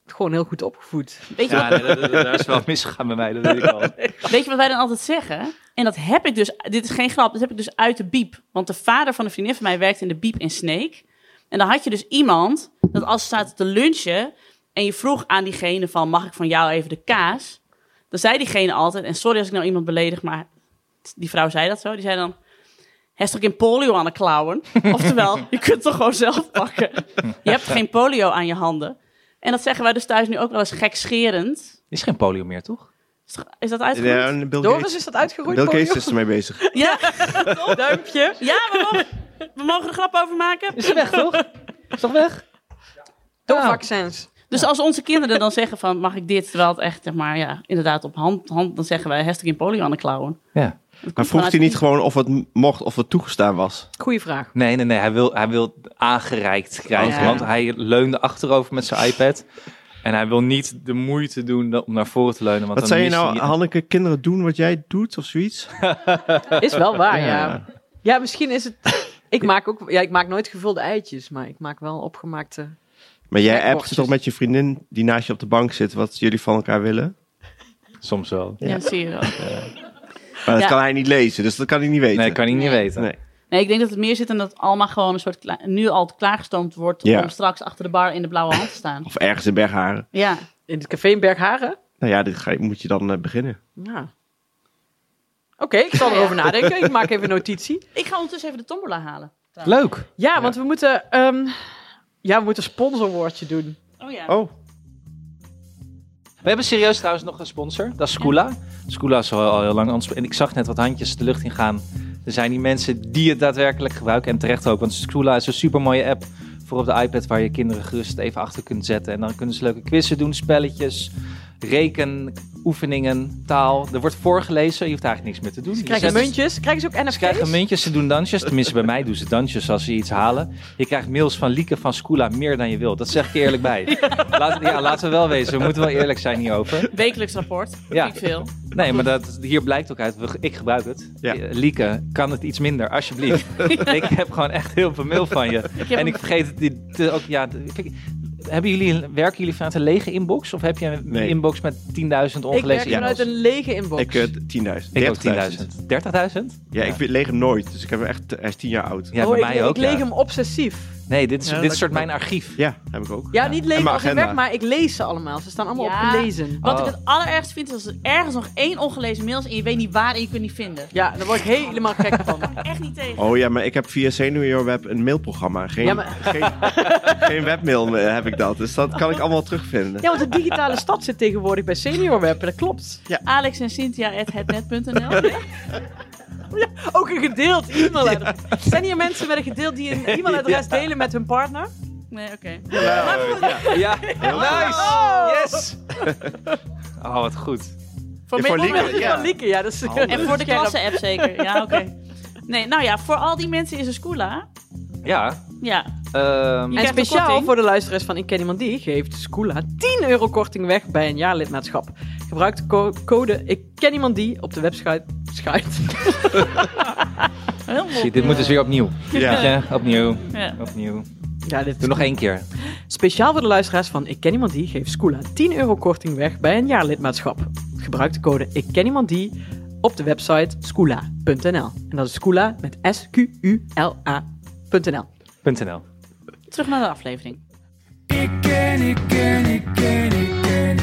gewoon heel goed opgevoed. Weet, je Ja, nee, dat- dat- daar is wel misgegaan bij mij, dat weet ik al. wat- weet je wat wij dan altijd zeggen? En dat heb ik dus, dit is geen grap, dat heb ik dus uit de biep. Want de vader van een vriendin van mij werkte in de biep in Sneek. En dan had je dus iemand, dat als ze zaten te lunchen... en je vroeg aan diegene van, mag ik van jou even de kaas? Dan zei diegene altijd, en sorry als ik nou iemand beledig... maar die vrouw zei dat zo, die zei dan... Hij is toch geen polio aan de klauwen? Oftewel, je kunt het toch gewoon zelf pakken. Je hebt geen polio aan je handen. En dat zeggen wij dus thuis nu ook wel eens gekscherend. Is geen polio meer, toch? Is toch- Is dat uitgevoerd? Ja, Ja, en Bill Doris Gates, is dat uitgeroeid. Bill Gates Polio? is ermee bezig. ja, Duimpje. we, mogen, we mogen er grap over maken. Is weg, toch? Is toch weg? Ah. Door vaccins. Dus als onze kinderen dan zeggen van, mag ik dit? Terwijl het echt, zeg maar, ja, inderdaad op hand, hand dan zeggen wij, hashtag in polio aan de klauwen. Ja. Maar vroeg hij niet gewoon of het m- mocht of het toegestaan was? Goeie vraag. Nee, nee, nee. Hij wil, hij wil aangereikt krijgen. Ja. Want hij leunde achterover met zijn iPad. En hij wil niet de moeite doen om naar voren te leunen. Want Wat dan zei je mist nou, hij- Hanneke, kinderen doen wat jij doet of zoiets? Is wel waar, Ja. ja. Ja, misschien is het... Ik maak, ook, ja, ik maak nooit gevulde eitjes, maar ik maak wel opgemaakte... Maar jij Kijk, appt bochtjes. toch met je vriendin die naast je op de bank zit wat jullie van elkaar willen? Soms wel. Ja, zie je wel. Maar dat Ja. kan hij niet lezen, dus dat kan hij niet weten. Nee, kan hij niet weten. Nee. Nee, ik denk dat het meer zit in dat Alma gewoon een soort, kla- nu al klaargestoomd wordt Ja. om straks achter de bar in de blauwe hand te staan. Of ergens in Bergharen. Ja, In het café in Bergharen? Nou ja, dit ga je- moet je dan eh, beginnen. Ja. Oké, ik zal erover nadenken. Ik maak even een notitie. ik ga ondertussen even de tombola halen. Leuk. Ja, want we moeten... ehm, ja, we moeten een sponsorwoordje doen. Oh ja. Oh, We hebben serieus trouwens nog een sponsor. Dat is Skoola. Skoola is al, al heel lang ons. En ik zag net wat handjes de lucht in gaan. Er zijn die mensen die het daadwerkelijk gebruiken. En terecht ook. Want Skoola is een supermooie app voor op de iPad. Waar je kinderen gerust even achter kunt zetten. En dan kunnen ze leuke quizzen doen, spelletjes. rekenoefeningen, taal. Er wordt voorgelezen, je hoeft eigenlijk niks meer te doen. Je Krijgen zet- muntjes? Krijgen ze ook NFT's? Ze krijgen muntjes, ze doen dansjes. Tenminste, bij mij doen ze dansjes als ze iets halen. Je krijgt mails van Lieke van Skoola meer dan je wilt. Dat zeg ik je eerlijk bij. Laat, ja, laten we wel wezen. We moeten wel eerlijk zijn hierover. Wekelijks rapport. Ja. Ja. Niet veel. Nee, maar dat, hier blijkt ook uit. we- Ik gebruik het. Ja. Eh, Lieke, kan het iets minder, alsjeblieft. ik heb gewoon echt heel veel mail van je. En ik vergeet het die- te- ook. Ja, de- kijk, hebben jullie, werken jullie vanuit een lege inbox? Of heb je een Nee. inbox met 10.000 Ik ongelezen werk e-mails? vanuit een lege inbox. Ik eh, 10.000. 30.000. Ik ook 10.000. 30.000? Ja, ik vind- leeg hem nooit. Dus ik heb hem echt, hij is 10 jaar oud. Ja, Oh, bij ik- mij ook. Ik leeg ja. hem obsessief. Nee, dit is, Ja, dit is dat- soort mijn archief. Ja, heb ik ook. Ja, niet leeg En mijn als in agenda. weg, maar ik lees ze allemaal. Ze staan allemaal Ja. op lezen. Wat Oh. ik het allerergst vind, is als er ergens nog één ongelezen mail is en je weet niet waar en je kunt niet vinden. Ja, daar word ik helemaal gek van. Echt niet tegen. Oh ja, maar ik heb via SeniorWeb een mailprogramma. Geen, Ja, maar- geen, geen webmail eh, heb ik dat. Dus dat kan ik allemaal terugvinden. Ja, want de digitale stad zit tegenwoordig bij SeniorWeb. Dat klopt. Alex en Cynthia at hetnet.nl. Ook een gedeeld e-mailadres. Zijn hier mensen met een gedeeld die een e-mailadres delen met hun partner? Nee, oké. Ja, Oh. nice! Yes! Oh, wat goed. Ja, Met- voor Lieke, met- ja. van Lieke, ja. Dat is, Oh. En voor de klasse-app zeker. Ja, oké. Nee, nou ja, voor al die mensen is er Scoola. Ja. Ja. ehm, En krijgt een speciaal korting. voor de luisteraars van Ik Ken Iemand Die geeft Skoola 10 euro korting weg bij een jaar lidmaatschap. Gebruik de co- code Ik Ken Iemand Die op de website. Schuit. Heel mooi. zie, dit moet dus weer opnieuw. Ja. Weet je, Opnieuw. Ja. Opnieuw. Ja, dit Doe nog één keer. Speciaal voor de luisteraars van Ik Ken Iemand Die geeft Skoola 10 euro korting weg bij een jaar lidmaatschap. Gebruik de code Ik Ken Iemand Die op de website skoola.nl. En dat is Skoola met S-Q-U-L-A.nl. .nl. Terug naar de aflevering. Ik ken, ik ken, ik ken, ik ken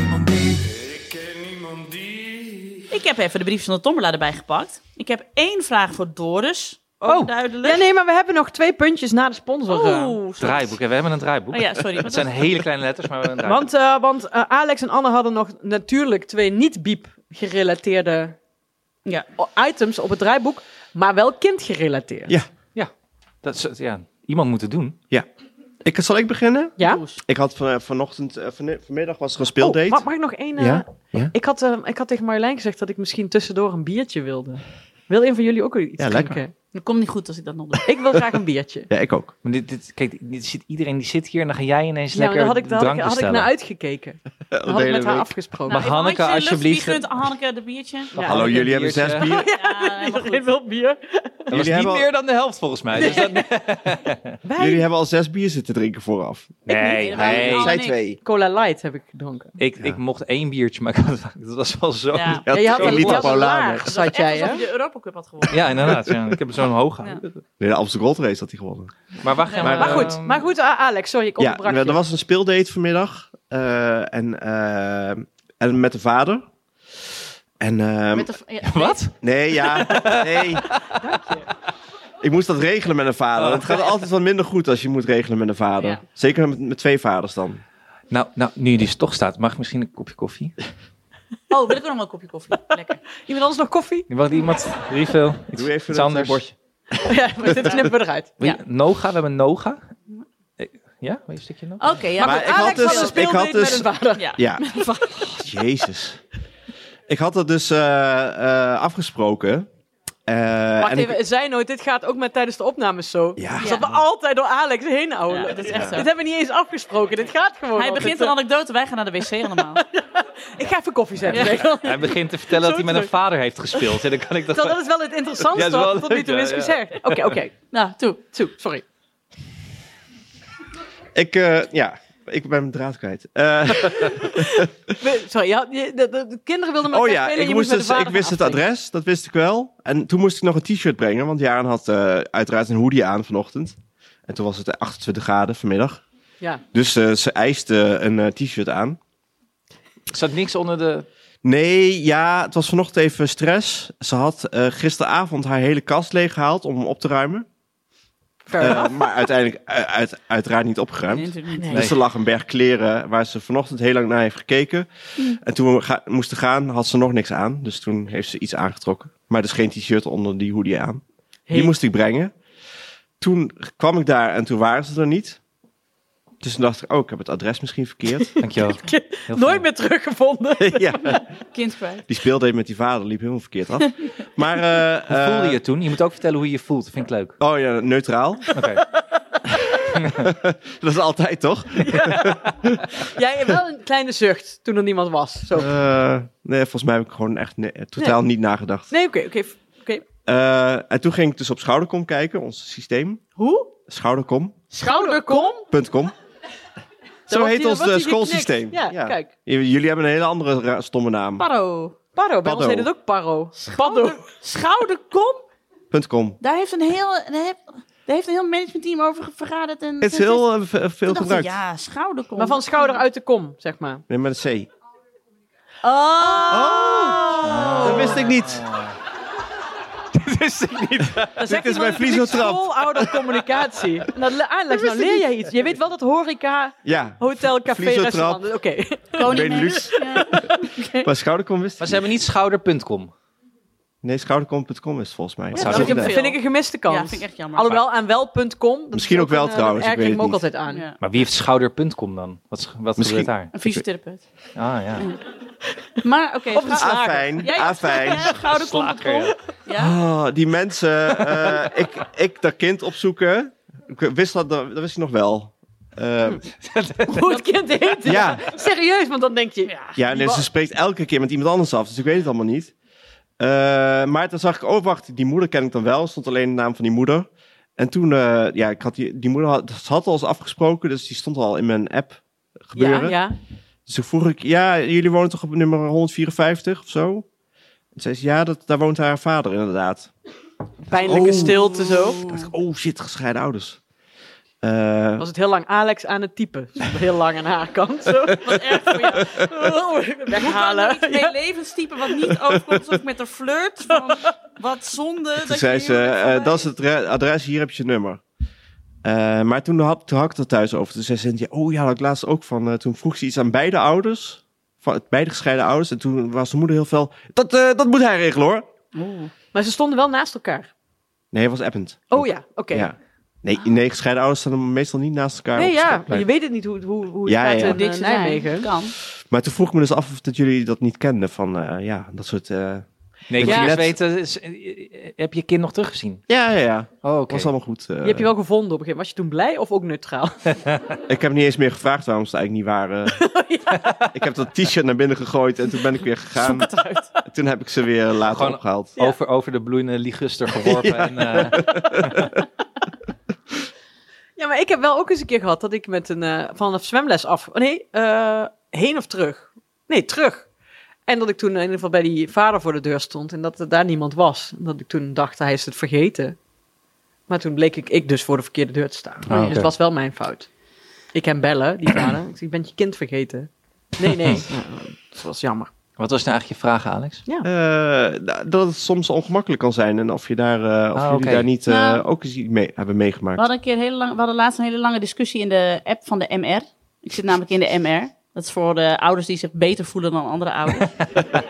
iemand die. Ik heb even de briefjes van de Tombola erbij gepakt. Ik heb één vraag voor Doris. Oh. duidelijk. Ja, nee, maar we hebben nog twee puntjes na de sponsor. Oh. eh. Oeh, sorry. Draaiboek. hè, We hebben een draaiboek. Oh ja, sorry. Het Wat zijn was- hele kleine letters, maar we hebben een draaiboek. Want, eh, want eh, Alex en Anne hadden nog natuurlijk twee niet-biep-gerelateerde Ja. items op het draaiboek, maar wel kindgerelateerd. Ja. Dat is, ja, iemand moet het doen. Ik, zal ik beginnen? Ja? Does. Ik had van, eh, vanochtend, eh, van, vanmiddag was er een Oh, speeldate. mag, mag ik nog één? eh, Ja, ja. Ik, had, eh, ik had tegen Marjolein gezegd dat ik misschien tussendoor een biertje wilde. Wil een van jullie ook iets Ja, lekker. drinken? Dat komt niet goed als ik dat nog doe. Ik wil graag een biertje. Ja, ik ook. Maar dit, dit, kijk, dit zit, iedereen die zit hier en dan ga jij ineens Ja, maar lekker daar Nou, had ik, daar had drank ik, had ik bestellen. naar uitgekeken. Dan had ik met haar afgesproken. Maar even Hanneke, Nou, handje in de lucht, alsjeblieft. Oh. Wie gunt Hanneke de biertje? Ja. Nou, Hallo, Een jullie hebben zes biertje. bier. Ja, helemaal Iedereen goed. wil bier. eh, Dat was Jullie niet hebben al- meer dan de helft volgens mij. Dus dat, Wij Jullie hebben al zes bier zitten drinken vooraf. nee, niet, wij nee. niet. Zij en ik. twee. Cola Light heb ik gedronken. Ik, ik mocht één biertje, maar ik had- dat was wel zo. Ja. Ja, je had twee een- liter je had een Paulaner. laag, Dat zat is echt jij, alsof hè? je de Europa Cup had gewonnen. Ja, inderdaad. Ja. Ik heb zo'n hoog gehouden. Nee, de Amstel Gold Race had hij gewonnen. Maar wacht Ja, maar, Maar goed, ehm, maar goed, ah, Alex, sorry, ik Ja, onderbrak er je. was een speeldate vanmiddag. eh, en, eh, en met de vader. En, ehm, Met de, ja, Wat? Nee, ja. Nee. Ik moest dat regelen met een vader. Het gaat altijd wat minder goed als je moet regelen met een vader. Ja. Zeker met, met twee vaders dan. Nou, nou, nu die toch staat, mag ik misschien een kopje koffie? Oh, wil ik ook nog wel een kopje koffie? Lekker. Iemand anders nog koffie? Wil iemand refill? Iets, Doe even iets dat eh, anders. bordje. Ja, maar dit knippen we eruit. Wil je- Ja. Noga, we hebben Noga. Eh, Ja, wil je een stukje nog? Oké, ja. Maar goed. ik had Alex dus- had een ik had speeldate dus- met een vader. ja. Ja. Jezus. Ik had dat dus eh, eh, afgesproken. Eh, Wacht en ik- even, het zei nooit, dit gaat ook met tijdens de opnames zo. Ja. Dus dat we altijd door Alex heen ouwen. Ja, dat is echt zo. Dit hebben we niet eens afgesproken, dit gaat gewoon Hij altijd. begint een anekdote, wij gaan naar de wc allemaal. Ik ga even koffie zetten. zeg maar. Hij begint te vertellen dat hij met een vader heeft gespeeld. En dan kan ik dat... Terwijl dat is wel het interessantste Ja, dat is wel wat tot nu toe leuk, is ja, ja. gezegd. Oké, oké. Nou, toe. Toe, sorry. Ik, eh, ja, ik ben mijn draad kwijt. Eh, We- Sorry, je had- je- de, de- de kinderen wilden met oh elkaar ja, spelen en ik, je moest moest dus, met de ik vader wist gaan het afspreken. adres, dat wist ik wel. En toen moest ik nog een t-shirt brengen, want Jaren had eh, uiteraard een hoodie aan vanochtend. En toen was het 28 graden vanmiddag. Ja. Dus eh, ze eiste een eh, t-shirt aan. Er zat niks onder de... Nee, ja, het was vanochtend even stress. Ze had eh, gisteravond haar hele kast leeggehaald om hem op te ruimen. Fair Eh, enough. maar uiteindelijk eh, uit, uiteraard niet opgeruimd. Dus er lag een berg kleren waar ze vanochtend heel lang naar heeft gekeken. Hm. En toen we ga- moesten gaan, had ze nog niks aan. Dus toen heeft ze iets aangetrokken. Maar er is geen t-shirt onder die hoodie aan. Die Hey. moest ik brengen. Toen kwam ik daar en toen waren ze er niet. Dus toen dacht ik, oh, ik heb het adres misschien verkeerd. Dankjewel. Heel fijn. Nooit meer teruggevonden. ja, Kind kwijt. die speelde even met die vader, liep helemaal verkeerd af. Maar, eh, Hoe voelde eh, je je toen? Je moet ook vertellen hoe je je voelt. Vind ik leuk. Oh ja, neutraal. Oké. Dat is altijd toch? Jij hebt wel een kleine zucht toen er niemand was. Zo. Eh, nee, volgens mij heb ik gewoon echt ne- totaal niet nagedacht. Nee, oké, oké. f- oké. Eh, en toen ging ik dus op Schoudercom kijken, ons systeem. Hoe? Schoudercom.com. Schouderkom? Zo wordt heet hier- ons wordt eh, hier schoolsysteem. geknikt. Ja, kijk. J- Jullie hebben een hele andere ra- stomme naam. Paro. Parro, bij ons Paddo. heet het ook parro. Paddo. Schouderkom? .com. Daar heeft een heel, daar heeft, daar heeft een heel managementteam over vergaderd. En Het is heel eh, ve- veel Toen dacht ik, gebruikt. Ja, schouderkom. Maar van schouder uit de kom, zeg maar. Nee, met een C. Oh! Dat wist ik niet. Dan zegt is iemand mijn natuurlijk vliezotrap. schooloudercommunicatie. En dat le- ah, nou leer jij iets. Je weet wel dat horeca, Ja, hotel, café, Vliezotrap. restaurant. dus Oké. Benelux. Maar Schoudercom wist Maar ik ze hebben niet schouder.com. Nee, schoudercom.com is het volgens mij. zou Dat ik vind hem ik- vind ik een gemiste kans. Ja, vind ik echt jammer. Alhoewel aan wel.com. dat Misschien is ook wel een, eh, trouwens, Dat ik weet erg ik me ook het altijd aan. Ja. Maar wie heeft schouder.com dan? Wat, is- wat Misschien- gebeurt daar? Een fysiotherapeut. Ah ja. Maar oké. Ah, Of een schou- Afijn, Jij- afijn. Ja, schouderkom. Ja. Oh, die mensen. eh, ik, ik dat kind opzoeken. Ik wist dat, dat wist ik nog wel. Eh, Hm. Hoe het kind heet. ja, Serieus, want dan denk je... ja nee, ze spreekt elke keer met iemand anders af, dus ik weet het allemaal niet. Eh, maar toen zag ik, oh wacht, die moeder ken ik dan wel. Stond alleen de naam van die moeder. En toen, eh, ja, ik had die, die moeder had, ze had al eens afgesproken, dus die stond al in mijn app gebeuren. Ja, ja. Dus toen vroeg ik, ja, jullie wonen toch op nummer 154 of zo? En zei ze, ja, dat, daar woont haar vader inderdaad. Pijnlijke Oh. stilte zo. Ik dacht, oh shit, gescheiden ouders. Eh, Was het heel lang Alex aan het typen. Ze stond Heel lang aan haar kant zo. Wat erg voor jou. Weghalen. nou Iets mee levenstype wat niet overkomt of met een flirt. Van, wat zonde. toen zei ze, eh, dat is het re- adres, hier heb je nummer. Eh, maar toen had, toen had ik het er thuis over. Toen zei ze, ja, oh ja, dat ik laatst ook van. eh, toen vroeg ze iets aan beide ouders. Van, beide gescheiden ouders. En toen was de moeder heel fel. Dat, eh, dat moet hij regelen hoor. Maar ze stonden wel naast elkaar. Nee, hij was append. Oh ja, oké. Ja. Nee, nee, gescheiden ouders staan meestal niet naast elkaar. Nee, op ja. straatplein. Je weet het niet hoe, hoe, hoe het Ja, gaat ja. in eh, Nijmegen. Kan. Maar toen vroeg ik me dus af of dat jullie dat niet kenden. Van eh, ja, dat soort. eh, Nee, ik Ja. wil eerst weten, is- eh, heb je je kind nog teruggezien? Ja, ja, ja. Oh, oké. Was allemaal goed. eh. Die heb je wel gevonden op een gegeven moment. Was je toen blij of ook neutraal? Ik heb niet eens meer gevraagd waarom ze het eigenlijk niet waren. Oh, Ik heb dat t-shirt naar binnen gegooid en toen ben ik weer gegaan. En Toen heb ik ze weer later Gewoon- opgehaald. Over, over de bloeiende liguster geworpen. en, eh, Ja, maar ik heb wel ook eens een keer gehad dat ik met een eh, vanaf zwemles af. oh nee, eh, heen of terug? Nee, terug. En dat ik toen in ieder geval bij die vader voor de deur stond en dat er daar niemand was. En dat ik toen dacht, hij is het vergeten. Maar toen bleek ik, ik dus voor de verkeerde deur te staan. oké. Dus het was wel mijn fout. Ik hem bellen, die vader. Ik zeg, je bent je kind vergeten. Nee, nee. Ja, dat was jammer. wat was nou eigenlijk je vraag, Alex? Eh, da- dat het soms ongemakkelijk kan zijn en of, je daar, eh, of Ah, jullie oké. daar niet eh, Nou. ook eens iets mee hebben meegemaakt. We hadden, een keer een hele lang, we hadden laatst een hele lange discussie in de app van de MR. Ik zit namelijk in de MR. Dat is voor de ouders die zich beter voelen dan andere ouders.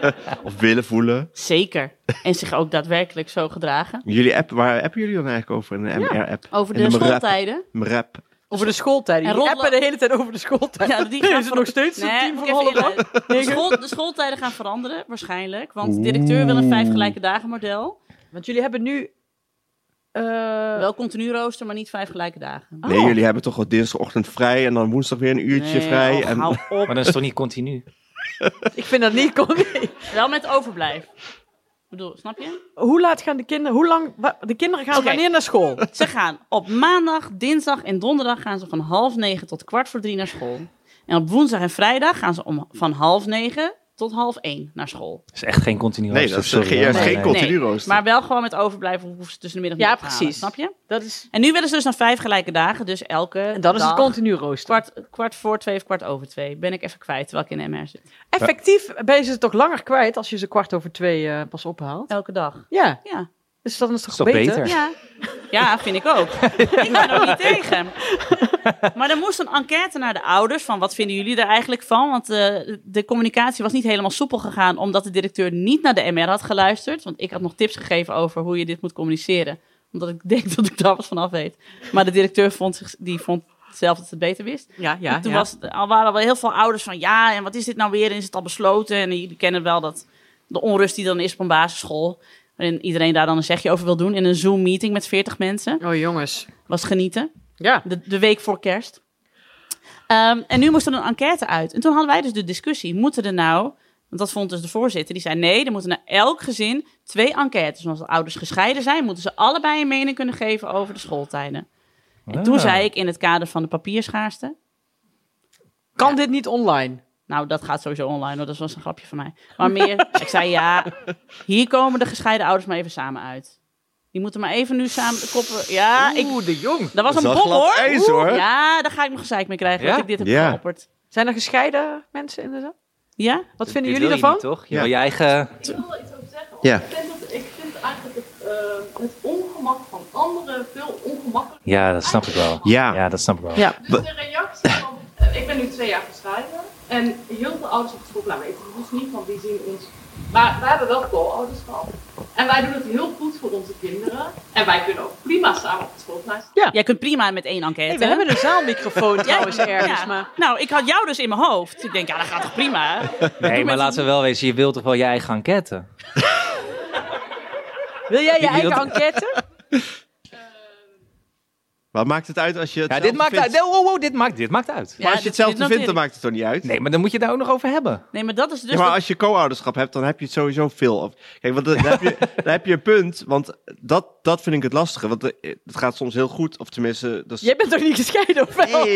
Of willen voelen. Zeker. En zich ook daadwerkelijk zo gedragen. Jullie app, waar appen jullie dan eigenlijk over? In de MR-app? Over In de MRAP. schooltijden. MRAP. Over de schooltijd. En Die roddelen- appen de hele tijd over de schooltijd. Ja, die gaan Is het nog steeds een Nee, team moet van ik even Holland? inleiden. de, school, de schooltijden gaan veranderen, waarschijnlijk. Want de directeur wil een vijf gelijke dagen model. Want jullie hebben nu... eh, Wel continu rooster, maar niet vijf gelijke dagen. Nee, jullie hebben toch wel dinsdagochtend vrij en dan woensdag weer een uurtje Oh. Nee, vrij. oh, en, hou op. Maar dan is het toch niet continu? Ik vind dat niet... Kon, Wel met overblijf. Ik bedoel, snap je? Hoe laat gaan de kinderen? Hoe lang? wa- De kinderen gaan Oké. wanneer naar school? Ze gaan op maandag, dinsdag en donderdag gaan ze van half negen tot kwart voor drie naar school. En op woensdag en vrijdag gaan ze om van half negen tot half één naar school. Dat is echt geen continu. Nee, rooster, dat is sorry, geen- hoor. juist geen continu. Nee, rooster. maar wel gewoon met overblijf hoeven ze tussen de middag Ja, niet op te halen, precies. snap je? Dat is, En nu willen ze dus naar vijf gelijke dagen, dus elke en dan is het dag continu rooster. kwart, kwart voor twee of kwart over twee. Ben ik even kwijt, terwijl ik in de MR zit. Effectief ben je ze toch langer kwijt als je ze kwart over twee eh, pas ophaalt? Elke dag. Ja, Ja. dus dan is het Is toch toch beter? beter? Ja. ja, vind ik ook. Ik ben er niet tegen. Maar er moest een enquête naar de ouders van wat vinden jullie er eigenlijk van? Want eh, de communicatie was niet helemaal soepel gegaan omdat de directeur niet naar de MR had geluisterd. Want ik had nog tips gegeven over hoe je dit moet communiceren. Omdat ik denk dat ik daar wat van af weet. Maar de directeur vond, zich, die vond zelf dat het beter wist. Ja, ja, En toen ja. was het, al waren er wel heel veel ouders van ja, en wat is dit nou weer? En is het al besloten? En jullie kennen wel dat de onrust die dan is op een basisschool. En iedereen daar dan een zegje over wil doen. In een Zoom-meeting met 40 mensen. Oh, jongens. Was genieten. Ja. De, de week voor kerst. Ehm, en nu moest er een enquête uit. En toen hadden wij dus de discussie: moeten er nou. Want dat vond dus de voorzitter. Die zei: nee, er moeten naar elk gezin twee enquêtes. Want als de ouders gescheiden zijn, moeten ze allebei een mening kunnen geven over de schooltijden. En toen Ah. zei ik in het kader van de papierschaarste. Kan dit niet online? Nou, dat gaat sowieso online, hoor. dat was een grapje van mij. Maar meer, ik zei ja, hier komen de gescheiden ouders maar even samen uit. Die moeten maar even nu samen de koppen. Ja, ik, Oeh, de jong. dat was Dat een is wel bom glad hoor. ijs, Oeh, hoor. Ja, daar ga ik nog gezeik mee krijgen Ja? dat ik dit heb Ja. geopperd. Zijn er gescheiden mensen in de zaal? Ja? Wat vinden Dit wil jullie je daarvan? niet, toch? Je Ja. wil je eigen... Ik wil er iets over zeggen. want Ja. Ik vind, dat, ik vind eigenlijk het, eh, het ongemak van anderen veel ongemakkelijker. Ja, dat snap ik wel. Ja. Ja, dat snap ik wel. Ja. Dus de reactie van, eh, ik ben nu twee jaar gescheiden. En heel veel ouders op het school, nou, maar ik hoef niet, want die zien ons. Maar wij hebben wel co-ouders gehad. En wij doen het heel goed voor onze kinderen. En wij kunnen ook prima samen op het schoolplein staan. Jij kunt prima met één enquête. Hey, we hebben een zaalmicrofoon trouwens Ja. ergens, Ja. maar... Nou, ik had jou dus in mijn hoofd. Ik denk, ja, dat gaat toch prima? hè? Nee, maar laten we wel wezen, je wilt toch wel je eigen enquête? Wil jij je Ik eigen wil- enquête? Maar maakt het uit als je het Ja, dit zelf maakt vindt? uit. Nee, Wow, wow, dit maakt, dit maakt uit. Ja, Maar als dit- je hetzelfde dit noteer vindt, ik. dan maakt het toch niet uit? Nee, maar dan moet je het daar ook nog over hebben. Nee, maar dat is dus... ja, maar dat- als je co-ouderschap hebt, dan heb je het sowieso veel. af. Kijk, want dan, dan heb, je, dan heb je een punt. Want dat, dat vind ik het lastige. Want eh, het gaat soms heel goed. Of tenminste... Dat is- Jij bent toch niet gescheiden, of wel?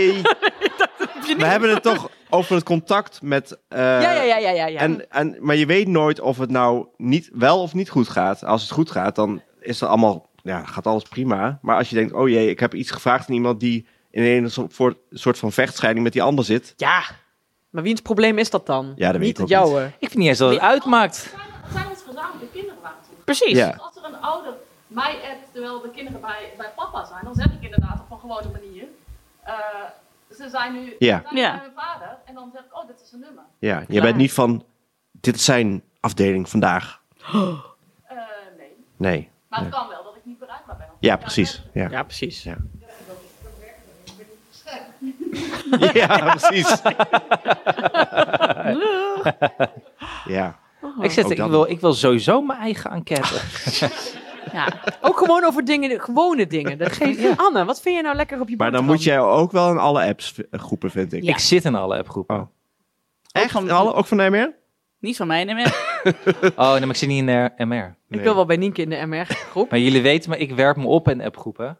Nee. We hebben het toch over het contact met... eh, Ja, ja, ja, ja, ja. ja. En, en, maar je weet nooit of het nou niet, wel of niet goed gaat. Als het goed gaat, dan is er allemaal, ja, gaat alles prima. Maar als je denkt, oh jee, ik heb iets gevraagd aan iemand die in een so- voor- soort van vechtscheiding met die ander zit. Ja. Maar wiens probleem is dat dan? Ja, dat weet niet ik ook het jouwe. Ik vind niet eens dat het uitmaakt. Het zijn onze gezamenlijke kinderen waren toen. Precies. Ja. Als er een ouder mij appt terwijl de kinderen bij, bij papa zijn, dan zeg ik inderdaad op een gewone manier. eh, ze zijn nu Ja. ze zijn nu Ja. bij hun vader. En dan zeg ik, oh, dit is een nummer. Ja, je bent niet van, dit is zijn afdeling vandaag. Eh, nee. Nee. Maar het Ja. kan wel dat ik niet bereikbaar ben. Ja, precies. Ja, Ja, precies. Ja. ja precies. Ja. Oh. Ik, zit, Ook ik, dat wil, nog. ik wil sowieso mijn eigen enquête. Ja. Ook gewoon over dingen, gewone dingen. Dat geeft... Anne, wat vind je nou lekker op je Maar dan boterham? moet jij ook wel in alle apps eh, groepen, vind ik. Ja. Ik zit in alle appgroepen. Echt? van- In alle? Ook van MR? Niet van mij, nee, maar... Oh, nee, maar ik zit niet in de MR. Ik wil wel bij Nienke in de MR-groep. Maar jullie weten, maar ik werp me op in appgroepen.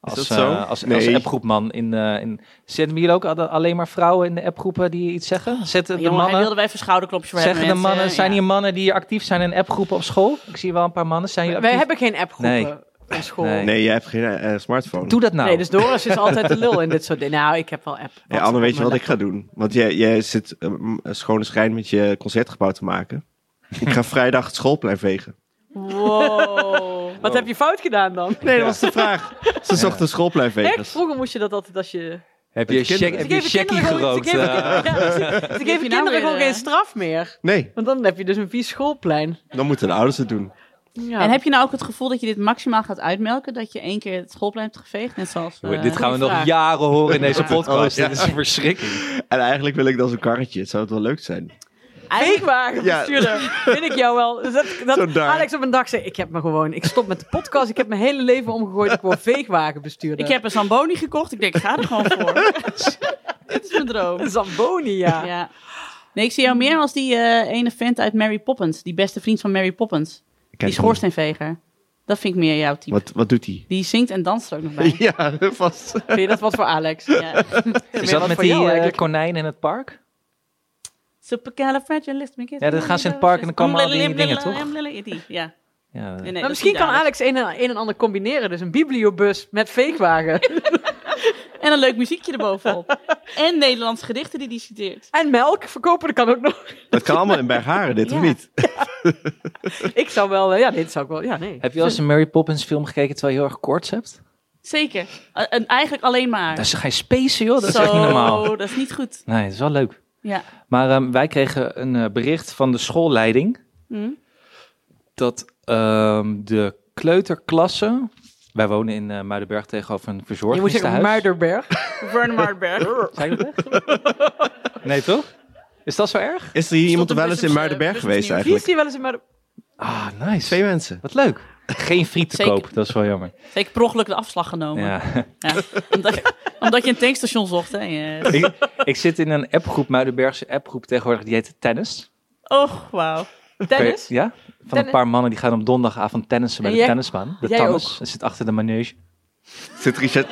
Als, dat zo? eh, als, als Nee. appgroepman. In, eh in... Zitten jullie ook al- alleen maar vrouwen in de appgroepen die iets Oh, zeggen? Zitten de Jongen, hij mannen... wilde wel even schouderklopjes voor Zeggen de hebben, mensen. mannen, zijn Ja. hier mannen die actief zijn in appgroepen op school? Ik zie wel een paar mannen. Zijn jullie Wij actief? hebben geen appgroepen op school. Nee. Nee. Nee, jij hebt geen eh, smartphone. Doe dat nou. dus Doris is altijd de lul in dit soort dingen. Nou, ik heb wel app. Ja, Anne, weet je wat ik ga doen? Want jij, jij zit eh, m- een schone schijn met je concertgebouw te maken. Ik ga vrijdag het schoolplein vegen. Wow. Wat heb je fout gedaan dan? Nee, dat was de vraag. Ze zochten Echt? schoolpleinvegers. Vroeger moest je dat altijd als je... Dus heb je, Met kinderen. Ze check, heb je geven checkie kinderen gewoon- gerookt? Ze geven, eh? ja, ze- ze geven nou kinderen weer, gewoon eh? geen straf meer. Nee, Want dan heb je dus een vies schoolplein. dan moeten de ouders het doen. Ja. En heb je nou ook het gevoel dat je dit maximaal gaat uitmelken? Dat je één keer het schoolplein hebt geveegd? Net zoals... eh, dit gaan we nog vraag. jaren horen in deze Ja. podcast. Oh, ja. Dit is een verschrikking. En eigenlijk wil ik dan zo'n karretje. Het zou het wel leuk zijn. Eigenlijk- Feestwagenbestuurder. Vind ik jou wel. Dus dat, dat Zo daar. Alex op een dag zei, ik heb me gewoon... Ik stop met de podcast. Ik heb mijn hele leven omgegooid. Ik word veegwagenbestuurder. Ik heb een Zamboni gekocht. Ik denk, ik ga er gewoon voor. Dit is mijn droom. Een Zamboni, ja. Ja. Nee, ik zie jou meer als die eh, ene vent uit Mary Poppins. Die beste vriend van Mary Poppins. Ik ken Die hem. schoorsteenveger. Dat vind ik meer jouw type. Wat, wat doet hij? Die zingt en danst er ook nog bij. Ja, vast. Vind je dat wat voor Alex? Ja. Is meer dat wat met voor die jou eh, eigenlijk. konijn in het park? Supercalifragilisticexpialidocious. Ja, dan gaan ze in het park en dan komen al die dingen, toch? Die, ja. Ja, eh, Nee, nee, Maar dat misschien is kan niet Alex. Alex een, en- een en ander combineren. Dus een bibliobus met veegwagen. En een leuk muziekje erbovenop. en Nederlandse gedichten die hij citeert. En melk verkopen, dat kan ook nog. Dat kan allemaal in Bergharen, dit Ja. of niet? Ik zou wel... eh, Ja, dit zou ik wel... Ja, nee. Heb je wel eens een Mary Poppins film gekeken terwijl je heel erg koorts hebt? Zeker. Eh, En eigenlijk alleen maar. Daar is geen space, joh. Dat is Zo, echt niet normaal. dat is niet goed. Nee, dat is wel leuk. Ja. Maar ehm, wij kregen een eh, bericht van de schoolleiding Hm. dat ehm, de kleuterklassen Wij wonen in eh, Muidenberg tegenover een Je moet verzorgingstehuis. zeggen Muiderberg. Bernardberg. Zijn we weg? nee, toch? Is dat zo erg? Is er hier iemand een wel eens in business, Muidenberg eh, geweest business Wie is eigenlijk? die wel eens in Muiderberg? Ah, nice. Twee mensen. Wat leuk. Geen friet te Zeker. koop, dat is wel jammer. Zeker per ongeluk de afslag genomen. Ja. Ja, omdat, je- omdat je een tankstation zocht. Hè? Ja. ik, ik zit in een appgroep, Muidenbergse appgroep tegenwoordig, die heet Tennis. Och, wauw. Tennis? Ja? Van een Tennis? paar mannen die gaan op donderdagavond tennissen bij En de jij- tennisbaan. De jij tennis. ook? Dat zit achter de manege. Zit Richard,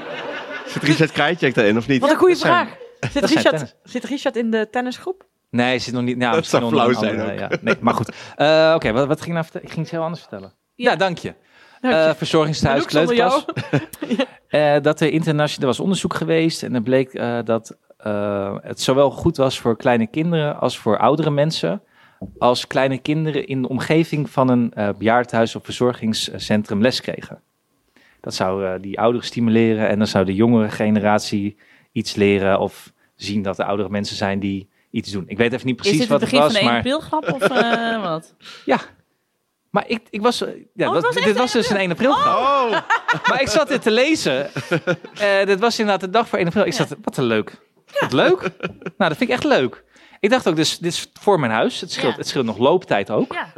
zit Richard Krajcek daarin of niet? Wat een goede dat zijn- vraag. Zit zijn Richard, tennis. zit Richard in de tennisgroep? Nee, zit nog niet. Nou, Dat misschien zou onder een flauw zijn andere, ja. nee, maar goed. Eh, Oké, wat, wat ging ik nou vertellen? Ik ging iets heel anders vertellen. Ja, Ja. dank je. Dank Eh, verzorgingstehuis, Anouk, zonder jou. kleuterklas. Eh, dat er internationaal er was onderzoek geweest en er bleek eh, dat eh, het zowel goed was voor kleine kinderen als voor oudere mensen. Als kleine kinderen in de omgeving van een eh bejaardenhuis of verzorgingscentrum les kregen. Dat zou eh, die ouderen stimuleren en dan zou de jongere generatie iets leren of zien dat er oudere mensen zijn die iets doen. Ik weet even niet Is precies dit wat het het begin was, van de maar ene pilgrap of eh, wat? ja. Maar ik, ik was. eh, Ja, Oh, het dat- was echt dit was dus een 1 april grap. Oh, Maar ik zat dit te lezen. Eh, dit was inderdaad de dag voor 1 april. Ik zat, wat een leuk. Wat leuk. Nou, dat vind ik echt leuk. Ik dacht ook, dus, dit is voor mijn huis. Het scheelt, Ja. het scheelt nog looptijd ook. Ja.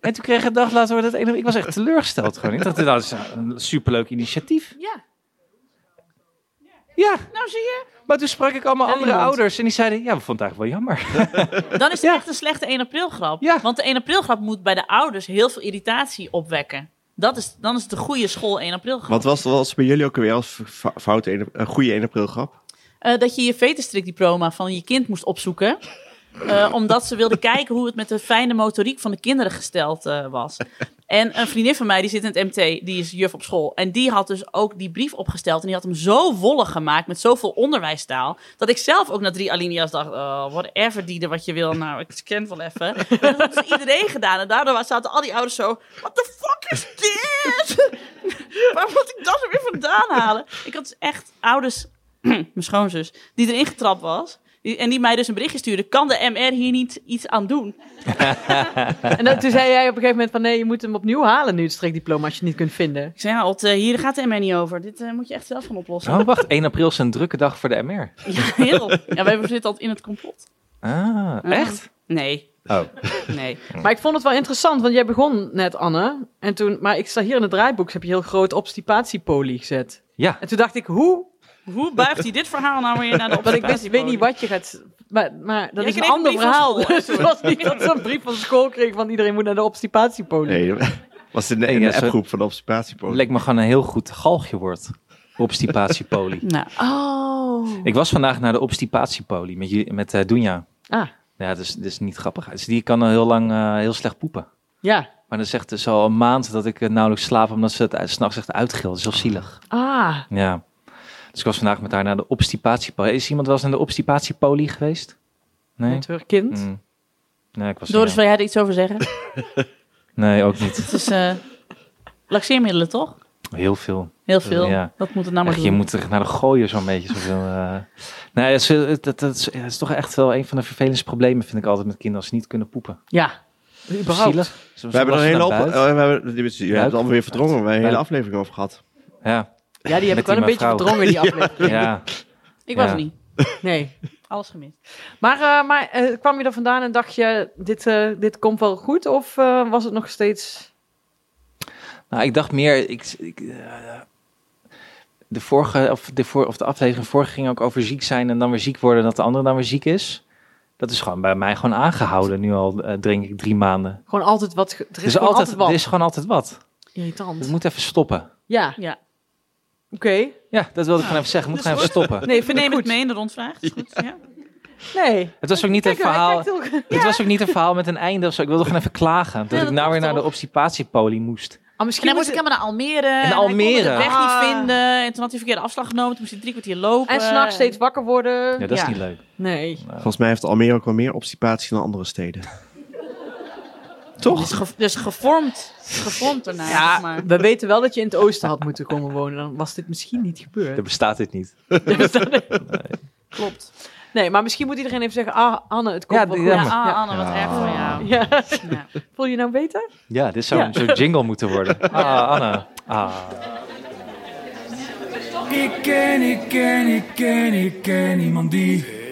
En toen kreeg ik een dag later hoor dat 1 april. Ik was echt teleurgesteld gewoon. Ik dacht, dat is een superleuk initiatief. Ja. Ja, Nou zie je. maar toen sprak ik allemaal En andere niemand. ouders. En die zeiden, ja, we vonden het eigenlijk wel jammer. Dan is het echt een slechte 1 april grap. Ja. Want de 1 april grap moet bij de ouders heel veel irritatie opwekken. Dat is, dan is het de goede school 1 april grap. wat was, was bij jullie ook weer als f- fout een, een goede 1 april grap? Eh, dat je je veterstrikdiploma van je kind moest opzoeken. eh, omdat ze wilde kijken hoe het met de fijne motoriek van de kinderen gesteld eh, was. En een vriendin van mij, die zit in het MT, die is juf op school. En die had dus ook die brief opgesteld. En die had hem zo wollig gemaakt, met zoveel onderwijstaal. Dat ik zelf ook na drie alinea's dacht, oh, whatever dieder wat je wil. Nou, ik scan wel even. En dat had dus iedereen gedaan. En daardoor zaten al die ouders zo, what the fuck is dit? Waar moet ik dat er weer vandaan halen? Ik had dus echt ouders mijn schoonzus, die erin getrapt was. Die- En die mij dus een berichtje stuurde. Kan de MR hier niet iets aan doen? En dan, toen zei jij op een gegeven moment van nee, je moet hem opnieuw halen nu het streekdiploma als je het niet kunt vinden. Ik zei, ja, Ot, eh, hier gaat de MR niet over. Dit eh, moet je echt zelf gaan oplossen. Oh, wacht. 1 april is een drukke dag voor de MR. Ja, Oh. heel. Ja, wij zitten altijd in het complot. Ah, echt? Nee. Oh. Nee. Maar ik vond het wel interessant, want jij begon net Anne. En toen, maar ik sta hier in het draaiboek, heb je heel groot obstipatiepolie gezet. Ja. En toen dacht ik, hoe? Hoe buigt hij dit verhaal nou weer naar de Want ik observatie- wist- ik weet niet wat je gaat... Maar, maar Jij dat is een kreeg ander een brief van verhaal. school, hè? Dus het was niet dat ze een brief van school kreeg van iedereen moet naar de obstipatiepolie. Nee, was in de, in Nee, de ja, zo- appgroep van de observatiepost. Leek me gewoon een heel goed galgje wordt. Obstipatiepolie. Nou, Oh. Ik was vandaag naar de obstipatiepolie met, jullie- met eh, Dunja. Ah, Ja, dat is, dat is niet grappig. Dus die kan al heel lang eh, heel slecht poepen. ja. Maar dan zegt ze al een maand dat ik eh, nauwelijks slaap omdat ze het s'nachts echt uitgilt. Dat is heel zielig. Ah. Ja. Dus ik was vandaag met haar naar de obstipatiepolie. Is iemand wel eens naar de obstipatiepolie geweest? Nee? Met haar kind. Mm. Nee, ik was er Doris, niet. wil jij er iets over zeggen? Nee, ook niet. Het is eh, laxeermiddelen, toch? Heel veel. Heel veel. Ja. Dat moet het nou maar Echt, doen. je moet er naar de gooien zo'n beetje. Zoveel, eh. Nee, dat is, dat, dat, is, dat is toch echt wel een van de vervelendste problemen, vind ik altijd met kinderen, als ze niet kunnen poepen. Ja. Überhaupt. Zielig. Soms We hebben er was een ze hele naar op, eh, we buiten. hebben, die- die- je hebt het allemaal weer verdrongen. We hebben een hele Buik. aflevering over gehad. Ja, Ja, die Met heb ik die wel een beetje mevrouw. verdrongen, die aflevering. ja. Ik was Ja. er niet. Nee. Alles gemist. Maar, eh, maar eh, kwam je er vandaan en dacht je, dit, eh, dit komt wel goed? Of eh, was het nog steeds... Nou, ik dacht meer. Ik, ik, eh, de vorige, of de, voor, of de aflevering vorige ging ook over ziek zijn en dan weer ziek worden, dat de ander dan weer ziek is. Dat is gewoon bij mij gewoon aangehouden nu al, eh, denk ik, drie maanden. Er Gewoon altijd wat... ge- Er is, is, gewoon altijd, altijd, wat. er is gewoon altijd wat. Het Irritant. moet even stoppen. Ja, oké. Ja. Ja, dat wilde ik gewoon even zeggen. Het moet gewoon even stoppen. Nee, We vind ik nemen het goed. mee in de rondvraag. Is goed. Ja. Nee. Het was ook niet een Kijk, hij verhaal. kijkt heel- Het was ook niet een verhaal met een einde of zo. Ik wilde gewoon even klagen. Dat Ja, ik dat nou weer mag naar de toch? obstipatiepolie moest. Ah, En misschien hij moet moest ik het... helemaal naar Almere. En Almere. Hij kon de weg Ah. niet vinden. En toen had hij verkeerde afslag genomen. Toen moest hij drie kwartier lopen. En s'nachts steeds wakker worden. Ja, dat is Ja. niet leuk. Eh, Nee. Volgens mij heeft Almere ook wel meer obstipatie dan andere steden. Toch? Dus, ge- dus gevormd. Gevormd daarna. zeg maar. we weten wel dat je in het oosten had moeten komen wonen. Dan was dit misschien niet Er gebeurd. bestaat dit niet. Klopt. Nee, maar misschien moet iedereen even zeggen... Ah, Anne, het komt Ja, wel die- goed. Ja, Jammer. ah, Anne, wat Ja. erg voor jou. Ja. Ja. Voel je nou beter? Ja, dit zou Ja. een soort jingle moeten worden. Ah, Anna. Ah. ik ken, ik ken, ik ken, ik ken iemand die.